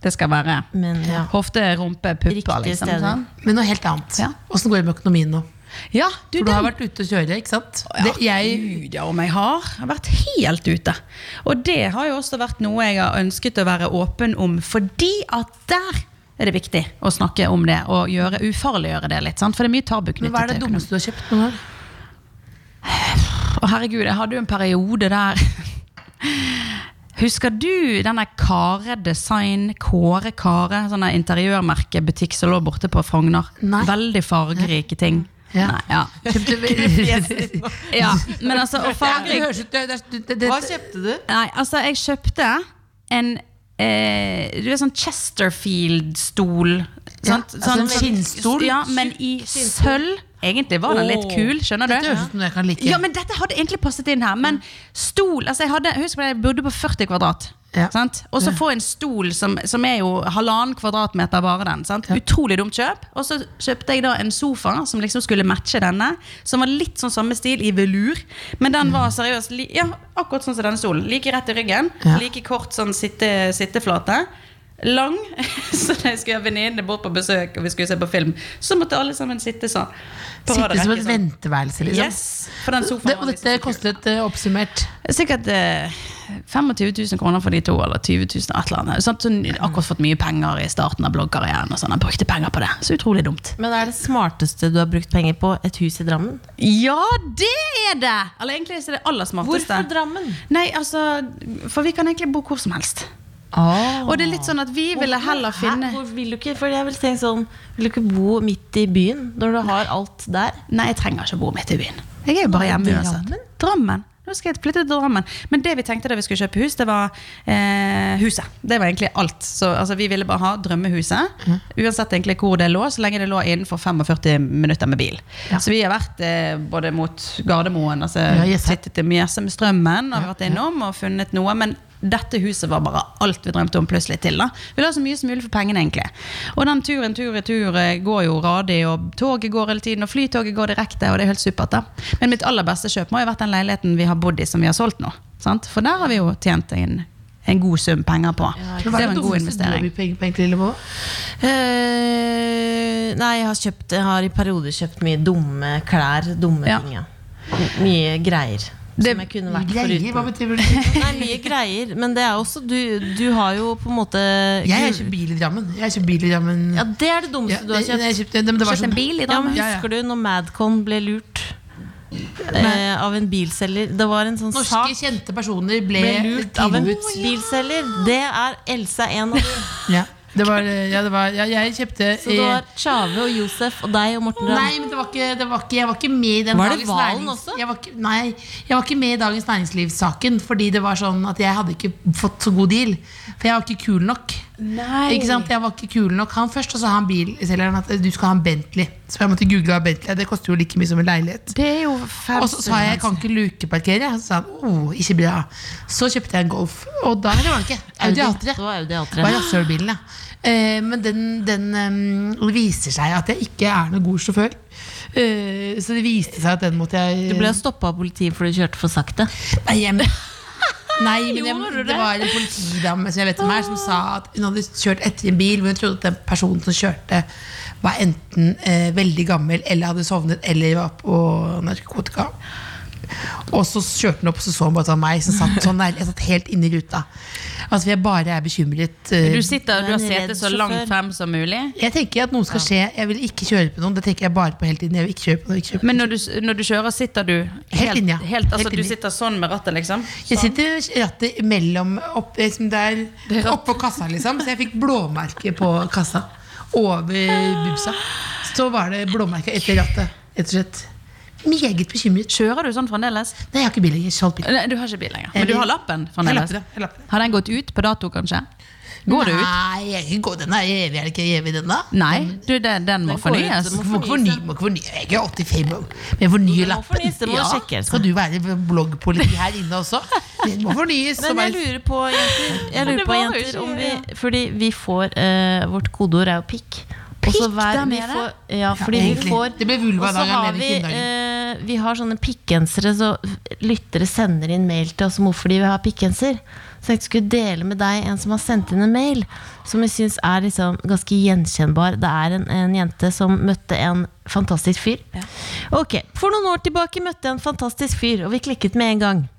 [SPEAKER 5] det skal være
[SPEAKER 6] Men ja.
[SPEAKER 5] hofte, rumpe, pupper,
[SPEAKER 6] Riktige
[SPEAKER 5] liksom.
[SPEAKER 6] steder.
[SPEAKER 5] Sånn.
[SPEAKER 3] Men noe helt annet.
[SPEAKER 5] Ja.
[SPEAKER 3] Åssen går det med økonomien nå?
[SPEAKER 5] Ja, du,
[SPEAKER 3] For du har
[SPEAKER 5] den-
[SPEAKER 3] vært ute og kjøre, ikke sant?
[SPEAKER 5] Ja,
[SPEAKER 3] Det, jeg,
[SPEAKER 5] Gud, ja, om jeg har. Jeg har vært helt ute. Og det har jo også vært noe jeg har ønsket å være åpen om, fordi at der er det viktig å snakke om det og gjøre, ufarliggjøre det litt. Sant? For det er mye tabu
[SPEAKER 3] men hva er
[SPEAKER 5] knyttet
[SPEAKER 3] det
[SPEAKER 5] til økonomi.
[SPEAKER 3] dummeste du har kjøpt noen gang?
[SPEAKER 5] Å, herregud, jeg hadde jo en periode der <laughs> Husker du denne Kare Design, Kåre Kare, sånne interiørmerkebutikk som lå borte på Frogner?
[SPEAKER 3] Nei.
[SPEAKER 5] Veldig fargerike ting.
[SPEAKER 3] Ja.
[SPEAKER 5] Nei, ja.
[SPEAKER 3] <laughs> Kjøpte
[SPEAKER 5] ja. Men altså,
[SPEAKER 3] <laughs>
[SPEAKER 5] og
[SPEAKER 3] Det
[SPEAKER 5] fargerike
[SPEAKER 3] høres ut det- det- det- det-
[SPEAKER 6] Hva kjøpte du?
[SPEAKER 5] Nei, altså jeg kjøpte en eh, Du vet sånn Chesterfield-stol sant? Sånn
[SPEAKER 3] altså en skinnstol?
[SPEAKER 5] Ja, men i sølv Egentlig var den litt
[SPEAKER 3] Åh,
[SPEAKER 5] kul, skjønner
[SPEAKER 3] Det
[SPEAKER 5] du?
[SPEAKER 3] høres ut som noe jeg kan like.
[SPEAKER 5] Ja, men dette hadde egentlig passet inn her. Men stol altså jeg, hadde, husk på det, jeg bodde på 40 kvadrat.
[SPEAKER 3] Ja.
[SPEAKER 5] sant? Og så få en stol som, som er jo halvannen kvadratmeter bare den. sant? Utrolig dumt kjøp. Og så kjøpte jeg da en sofa som liksom skulle matche denne. Som var litt sånn samme stil, i velur. Men den var seriøst li ja, akkurat sånn som denne stolen. Like rett i ryggen.
[SPEAKER 3] Mm. Ja.
[SPEAKER 5] Like kort sånn sitte, sitteflate. Lang. <laughs> Så da jeg skulle ha venninnene bort på besøk, og vi skulle se på film, så måtte alle sammen sitte sånn.
[SPEAKER 3] Sitte
[SPEAKER 5] på rad og
[SPEAKER 3] som
[SPEAKER 5] rekke,
[SPEAKER 3] et
[SPEAKER 5] sånn.
[SPEAKER 3] venteværelse, liksom.
[SPEAKER 5] Yes, for den sofaen
[SPEAKER 3] Det,
[SPEAKER 5] var
[SPEAKER 3] og
[SPEAKER 5] liksom
[SPEAKER 3] dette
[SPEAKER 5] så kul.
[SPEAKER 3] kostet eh, oppsummert
[SPEAKER 5] Sikkert eh, 25 000 kroner for de to, eller 20 000, et eller annet. Sant? Så hun hadde akkurat fått mye penger i starten av bloggkarrieren, og sånn. Jeg brukte penger på det. Så utrolig dumt.
[SPEAKER 4] Men er det smarteste du har brukt penger på et hus i Drammen?
[SPEAKER 5] Ja, det er det! Eller egentlig så er det aller smarteste.
[SPEAKER 4] Hvorfor Drammen?
[SPEAKER 5] Nei, altså, for vi kan egentlig bo hvor som helst. Og det er litt sånn at vi ville heller finne
[SPEAKER 4] Hæ? Hvor vil du ikke? For jeg vil tenke sånn Vil du ikke bo midt i byen når du har alt der?
[SPEAKER 5] Nei, jeg trenger ikke å bo midt i byen. Jeg er jo bare hjemme uansett. Drammen. Nå skal jeg flytte til Drammen. Men det vi tenkte da vi skulle kjøpe hus, det var eh, huset. Det var egentlig alt. Så altså, vi ville bare ha drømmehuset. Uansett egentlig hvor det lå, så lenge det lå innenfor 45 minutter med bil. Så vi har vært eh, både mot Gardermoen, altså
[SPEAKER 3] Ja, yes.
[SPEAKER 5] sittet i Mjøsa med strømmen og vært innom og funnet noe. men dette huset var bare alt vi drømte om plutselig til. da. Vi la så mye som mulig for pengene, egentlig. Og den turen tur-retur eh, går jo radig, og toget går hele tiden, og flytoget går direkte, og det er helt supert, da. Men mitt aller beste kjøp må jo ha vært den leiligheten vi har bodd i, som vi har solgt nå. Sant? For der har vi jo tjent en, en god sum penger på. det var en god investering.
[SPEAKER 4] Eh, nei, jeg har, kjøpt, jeg har i perioder kjøpt mye dumme klær. Dumme
[SPEAKER 5] Ja.
[SPEAKER 4] ting, ja. M- Mye greier.
[SPEAKER 5] Det-
[SPEAKER 4] som jeg kunne vært
[SPEAKER 3] Greier, hva
[SPEAKER 4] foruten.
[SPEAKER 3] betyr det?
[SPEAKER 4] Nei, mye greier. Men det er også Du, du har jo på en måte
[SPEAKER 3] Jeg har kjøpt bil i Drammen. Jeg har kjøpt bil i Drammen
[SPEAKER 4] Ja, det er det dummeste
[SPEAKER 3] Ja,
[SPEAKER 4] du har
[SPEAKER 3] jeg-
[SPEAKER 4] kjøpt.
[SPEAKER 3] jeg kjøpte- det- men det var sånn-
[SPEAKER 5] bil i
[SPEAKER 4] Ja, men
[SPEAKER 5] Drammen?
[SPEAKER 3] ja.
[SPEAKER 4] Husker du når Madcon ble lurt eh, av en bilselger? Det var en sånn
[SPEAKER 3] Norske
[SPEAKER 4] sak
[SPEAKER 3] kjente personer ble,
[SPEAKER 4] ble lurt av en
[SPEAKER 3] tilbudt.
[SPEAKER 4] bilselger. Det er Else en av dem.
[SPEAKER 3] Ja, det var, ja, det var ja, Jeg kjøpte
[SPEAKER 4] Så det
[SPEAKER 3] eh,
[SPEAKER 4] var Tjave og Josef og deg og Morten Ramm.
[SPEAKER 3] Nei, men det var ikke, det var ikke, jeg var ikke med i den
[SPEAKER 4] Var det
[SPEAKER 3] Dagens
[SPEAKER 4] Valen
[SPEAKER 3] Nærings-
[SPEAKER 4] også?
[SPEAKER 3] Jeg var ikke, nei, jeg var ikke med i Dagens Næringsliv-saken. Fordi det var sånn at jeg hadde ikke fått så god deal. For jeg var ikke kul nok. Ikke sant? Jeg var ikke kul nok Han først, og så han bilselgeren at du skal ha en Bentley. Så jeg måtte google hva Bentley er. Det koster jo like mye som en leilighet.
[SPEAKER 5] Det er jo fem
[SPEAKER 3] Og så sa jeg jeg kan ikke lukeparkere. jeg. Så sa han oh, ikke bra. Så kjøpte jeg en Golf. Og da eller var det ikke. Audi A3.
[SPEAKER 4] Det var Audi
[SPEAKER 3] Det var
[SPEAKER 4] A3.
[SPEAKER 3] rasshølbilen, ja. Eh, men den, den eh, viser seg at jeg ikke er noen god sjåfør. Eh, så det viste seg at den måtte jeg
[SPEAKER 4] Du ble stoppa av politiet fordi du kjørte for sakte.
[SPEAKER 3] Nei, jeg-
[SPEAKER 4] <laughs>
[SPEAKER 3] Nei, men jeg, det var en politidame som jeg vet om her, som sa at hun hadde kjørt etter en bil, men hun trodde at den personen som kjørte, var enten eh, veldig gammel eller hadde sovnet eller var på narkotika. Og så kjørte hun opp, og så så hun bare sånn meg som satt sånn der. Jeg satt helt inne i ruta. Altså, jeg bare er bekymret. eh,
[SPEAKER 5] Du sitter og du har
[SPEAKER 4] Men redd
[SPEAKER 5] setet så langt
[SPEAKER 4] sjåfør.
[SPEAKER 5] frem som mulig.
[SPEAKER 3] Jeg tenker at noe skal skje. Jeg vil ikke kjøre på noen. Det tenker jeg bare på hele tiden. Jeg vil ikke kjøre på noen. Ikke kjøre på noen.
[SPEAKER 5] Men når du, når du kjører, sitter du helt,
[SPEAKER 3] linja.
[SPEAKER 5] helt, altså,
[SPEAKER 3] Helt linja.
[SPEAKER 5] Du sitter sånn med rattet, liksom?
[SPEAKER 3] Jeg sitter rattet mellom opp, liksom der, oppå kassa, liksom. Så jeg fikk blåmerke på kassa. Over buksa. Så var det blåmerke etter rattet. Rett og slett. Meget bekymret.
[SPEAKER 5] Kjører du sånn fremdeles?
[SPEAKER 3] Nei, jeg har ikke bil lenger. Solgt bil.
[SPEAKER 5] Nei, du har ikke bil lenger. Men du har lappen
[SPEAKER 3] Jeg
[SPEAKER 5] fremdeles?
[SPEAKER 3] lappet det, jeg lappet det.
[SPEAKER 5] Har den gått ut på dato, kanskje? Går det ut?
[SPEAKER 3] Nei, jeg kan ikke gå den er evig. Er det ikke evig, den, da?
[SPEAKER 5] Nei, du, den, den må fornyes.
[SPEAKER 3] Må ikke fornye, må ikke fornye. Jeg er ikke 85 år, men jeg fornyer lappen.
[SPEAKER 4] fornyes, det må sjekkes, altså.
[SPEAKER 3] Skal du være bloggpoliti her inne også? Den må fornyes. så
[SPEAKER 4] Men jeg
[SPEAKER 3] bare-
[SPEAKER 4] lurer på, jenter, jeg lurer
[SPEAKER 5] Det
[SPEAKER 4] på,
[SPEAKER 5] var jo
[SPEAKER 4] jenter
[SPEAKER 5] ikke-
[SPEAKER 4] om vi, Fordi vi får eh, Vårt kodeord er jo pikk. Og så
[SPEAKER 5] Pikk,
[SPEAKER 4] hver-
[SPEAKER 5] der
[SPEAKER 4] vi
[SPEAKER 5] med det?
[SPEAKER 4] får- Ja, fordi
[SPEAKER 3] egentlig.
[SPEAKER 4] vi får
[SPEAKER 3] Det ble vulvadagen,
[SPEAKER 4] og så har
[SPEAKER 3] mener
[SPEAKER 4] vi,
[SPEAKER 3] ikke
[SPEAKER 4] eh, vi har sånne pikkgensere, så lyttere sender inn mail til oss om hvorfor de vil ha pikkgenser. Så jeg skulle dele med deg en som har sendt inn en mail som jeg syns er liksom ganske gjenkjennbar. Det er en, en jente som møtte en fantastisk fyr. Ok, For noen år tilbake møtte jeg en fantastisk fyr, og vi klikket med en gang.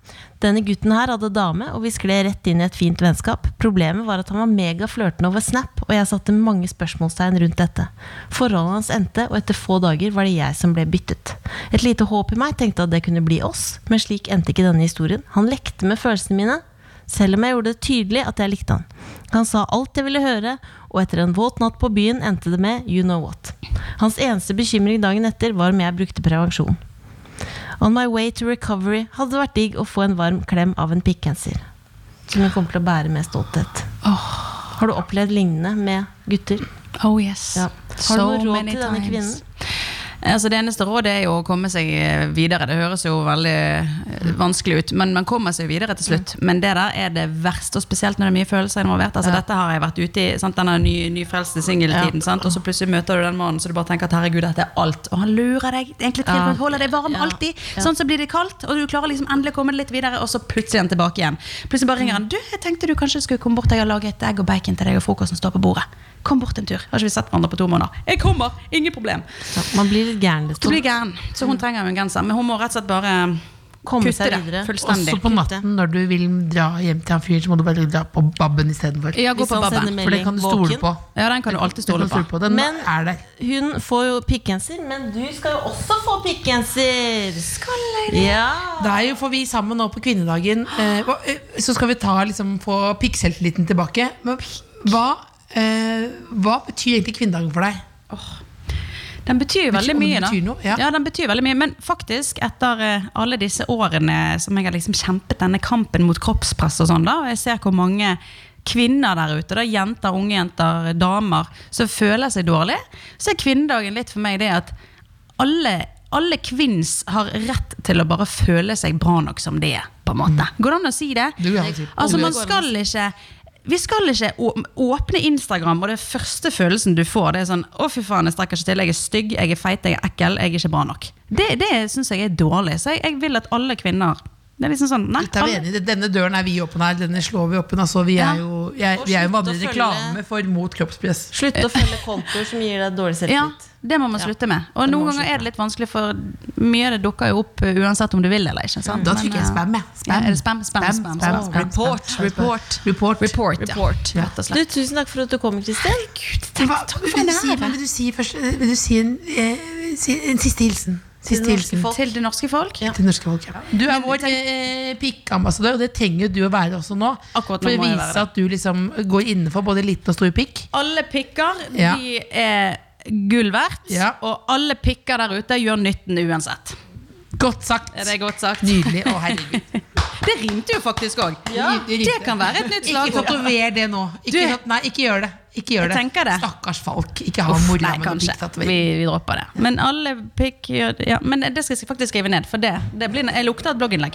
[SPEAKER 4] Denne gutten her hadde dame, og vi skled rett inn i et fint vennskap. Problemet var at han var megaflørtende over Snap, og jeg satte mange spørsmålstegn rundt dette. Forholdet hans endte, og etter få dager var det jeg som ble byttet. Et lite håp i meg tenkte at det kunne bli oss, men slik endte ikke denne historien. Han lekte med følelsene mine, selv om jeg gjorde det tydelig at jeg likte han. Han sa alt jeg ville høre, og etter en våt natt på byen endte det med you know what. Hans eneste bekymring dagen etter var om jeg brukte prevensjon. On my way to recovery hadde det vært digg å få en varm klem av en pikkgenser. Som jeg kommer til å bære med stolthet. Har du opplevd lignende med gutter?
[SPEAKER 5] Oh yes.
[SPEAKER 4] Ja. Har du noe råd til denne kvinnen?
[SPEAKER 5] Altså Det eneste rådet er jo å komme seg eh, videre. Det høres jo veldig eh, vanskelig ut, men man kommer seg videre til slutt. Men det der er det verste, og spesielt når det er mye følelser involvert. Altså Dette har jeg vært ute i, sant? denne ny, nyfrelste singeltiden. sant? Og så plutselig møter du den mannen så du bare tenker at herregud, dette er alt. Og han lurer deg egentlig til å holde deg varm alltid. Sånn så blir det kaldt, og du klarer liksom endelig å komme deg litt videre, og så plutselig er han tilbake igjen. Plutselig bare ringer han. Du, jeg tenkte du kanskje skulle komme bort, jeg har laget et egg og bacon til deg, og frokosten står på bordet. Kom bort en tur. Har ikke vi sett hverandre på to måneder? Jeg kommer! Ingen problem.
[SPEAKER 6] Ja, man blir litt gæren litt
[SPEAKER 5] Du blir
[SPEAKER 6] sånn.
[SPEAKER 5] gæren, så hun trenger jo en genser. Men hun må rett og slett bare
[SPEAKER 6] Komme
[SPEAKER 5] kutte
[SPEAKER 6] seg
[SPEAKER 5] det
[SPEAKER 6] videre.
[SPEAKER 5] fullstendig.
[SPEAKER 3] Også på natten, når du vil dra hjem til han fyren, så må du bare dra på babben istedenfor.
[SPEAKER 5] Ja, gå
[SPEAKER 6] Hvis
[SPEAKER 5] på
[SPEAKER 6] han sender
[SPEAKER 5] babben.
[SPEAKER 6] melding
[SPEAKER 3] For det kan du stole
[SPEAKER 6] våken.
[SPEAKER 3] på.
[SPEAKER 5] Ja, den kan du alltid stole
[SPEAKER 3] Den kan du
[SPEAKER 5] på.
[SPEAKER 3] Den
[SPEAKER 6] Men-
[SPEAKER 3] er der.
[SPEAKER 6] Hun får jo pikkgenser, men du skal jo også få pikkgenser! Skal jeg det? Ja.
[SPEAKER 3] Det er jo, for vi sammen nå på kvinnedagen eh, hva- eh, Så skal vi ta, liksom, få pikkselvtilliten tilbake. Men hva, eh, hva betyr egentlig kvinnedagen for deg?
[SPEAKER 5] Den betyr jo veldig
[SPEAKER 3] om den
[SPEAKER 5] mye, da.
[SPEAKER 3] betyr noe, ja.
[SPEAKER 5] den betyr veldig mye. Men faktisk, etter eh, alle disse årene som jeg har liksom kjempet denne kampen mot kroppspress og sånn, da, og jeg ser hvor mange kvinner der ute, da, jenter, unge jenter, damer, som føler seg dårlig, så er kvinnedagen litt for meg det at alle alle kvinns har rett til å bare føle seg bra nok som det er. på en måte.
[SPEAKER 3] Mm.
[SPEAKER 5] Går det an å si det?
[SPEAKER 3] Det går an å si.
[SPEAKER 5] Altså, man skal ikke vi skal ikke å- åpne Instagram, og det første følelsen du får, det er sånn Å, fy faen, jeg strekker ikke til. Jeg er stygg, jeg er feit, jeg er ekkel, jeg er ikke bra nok. Det, det syns jeg er dårlig. Så jeg, jeg vil at alle kvinner Det er liksom sånn Nei,
[SPEAKER 3] Da er vi
[SPEAKER 5] alle-
[SPEAKER 3] enige. Denne døren er vi åpen her, denne slår vi åpen. Altså, vi
[SPEAKER 5] Ja.
[SPEAKER 3] er jo, jeg,
[SPEAKER 6] Og
[SPEAKER 3] vi er jo
[SPEAKER 6] slutt å
[SPEAKER 3] vanlig
[SPEAKER 6] følge-
[SPEAKER 3] reklame for mot kroppspress.
[SPEAKER 6] Slutt å følge kontoer som gir deg dårlig
[SPEAKER 5] Ja,
[SPEAKER 6] selvtillit.
[SPEAKER 5] det må man slutte med. Og
[SPEAKER 6] det må man
[SPEAKER 5] noen ganger
[SPEAKER 6] slutte
[SPEAKER 5] er det litt vanskelig, for mye av det dukker jo opp uh, uansett om du vil eller ikke. Sant?
[SPEAKER 3] Da
[SPEAKER 5] Men,
[SPEAKER 3] trykker jeg
[SPEAKER 5] uh,
[SPEAKER 3] spam, jeg.
[SPEAKER 5] Ja, er det spam, spam, spam,
[SPEAKER 3] Spam,
[SPEAKER 5] spam,
[SPEAKER 3] spam, spam.
[SPEAKER 6] Report, report.
[SPEAKER 3] Report.
[SPEAKER 5] Report, ja.
[SPEAKER 3] Ja.
[SPEAKER 5] Rett og
[SPEAKER 6] Du,
[SPEAKER 5] slett.
[SPEAKER 6] tusen takk for at du kom, Kristin.
[SPEAKER 3] Hva, vil, du si, vil du si først Vil du si en, eh, si en siste hilsen? Siste
[SPEAKER 6] norske
[SPEAKER 3] hilsen
[SPEAKER 6] folk.
[SPEAKER 5] Til det norske folk?
[SPEAKER 3] til norske folk. Ja. Du er vår eh, pikkambassadør, og det trenger jo du å være også nå.
[SPEAKER 5] Akkurat
[SPEAKER 3] for
[SPEAKER 5] nå
[SPEAKER 3] å
[SPEAKER 5] må jeg
[SPEAKER 3] vise
[SPEAKER 5] være
[SPEAKER 3] at du liksom går innenfor både liten og stor pikk.
[SPEAKER 5] Alle pikker,
[SPEAKER 3] Ja.
[SPEAKER 5] de er gull verdt.
[SPEAKER 3] Ja.
[SPEAKER 5] Og alle pikker der ute gjør nytten uansett.
[SPEAKER 3] Godt sagt.
[SPEAKER 5] Er det godt sagt?
[SPEAKER 3] Nydelig. Å, herregud.
[SPEAKER 5] <laughs> Det rimte jo faktisk òg. Det
[SPEAKER 3] rimte.
[SPEAKER 5] kan være et nytt
[SPEAKER 3] Ikke
[SPEAKER 5] slagord.
[SPEAKER 3] tatover det nå. Ikke,
[SPEAKER 5] Du-
[SPEAKER 3] tat- nei, ikke gjør det. Ikke gjør
[SPEAKER 5] Jeg tenker det.
[SPEAKER 3] Stakkars Falk. Ikke ha
[SPEAKER 5] Uff,
[SPEAKER 3] mora
[SPEAKER 5] Nei,
[SPEAKER 3] med noen
[SPEAKER 5] kanskje. Vi,
[SPEAKER 3] pikk-tatovering.
[SPEAKER 5] vi dropper det. Men alle pikk gjør ja, Men det skal jeg faktisk skrive ned, for det, det blir, jeg lukter et blogginnlegg.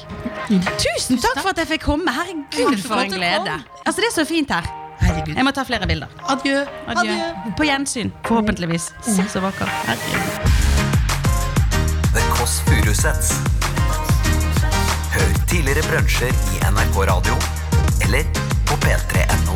[SPEAKER 5] Tusen takk for at jeg fikk komme. Herregud, for en glede. Altså, det er så fint her.
[SPEAKER 3] Herregud.
[SPEAKER 5] Jeg må ta flere bilder.
[SPEAKER 3] Adjø.
[SPEAKER 5] Adjø. På gjensyn, forhåpentligvis. Se så vakker. Herregud.
[SPEAKER 2] The Kåss Furuseths. Hør tidligere brunsjer i NRK Radio eller på p3.no.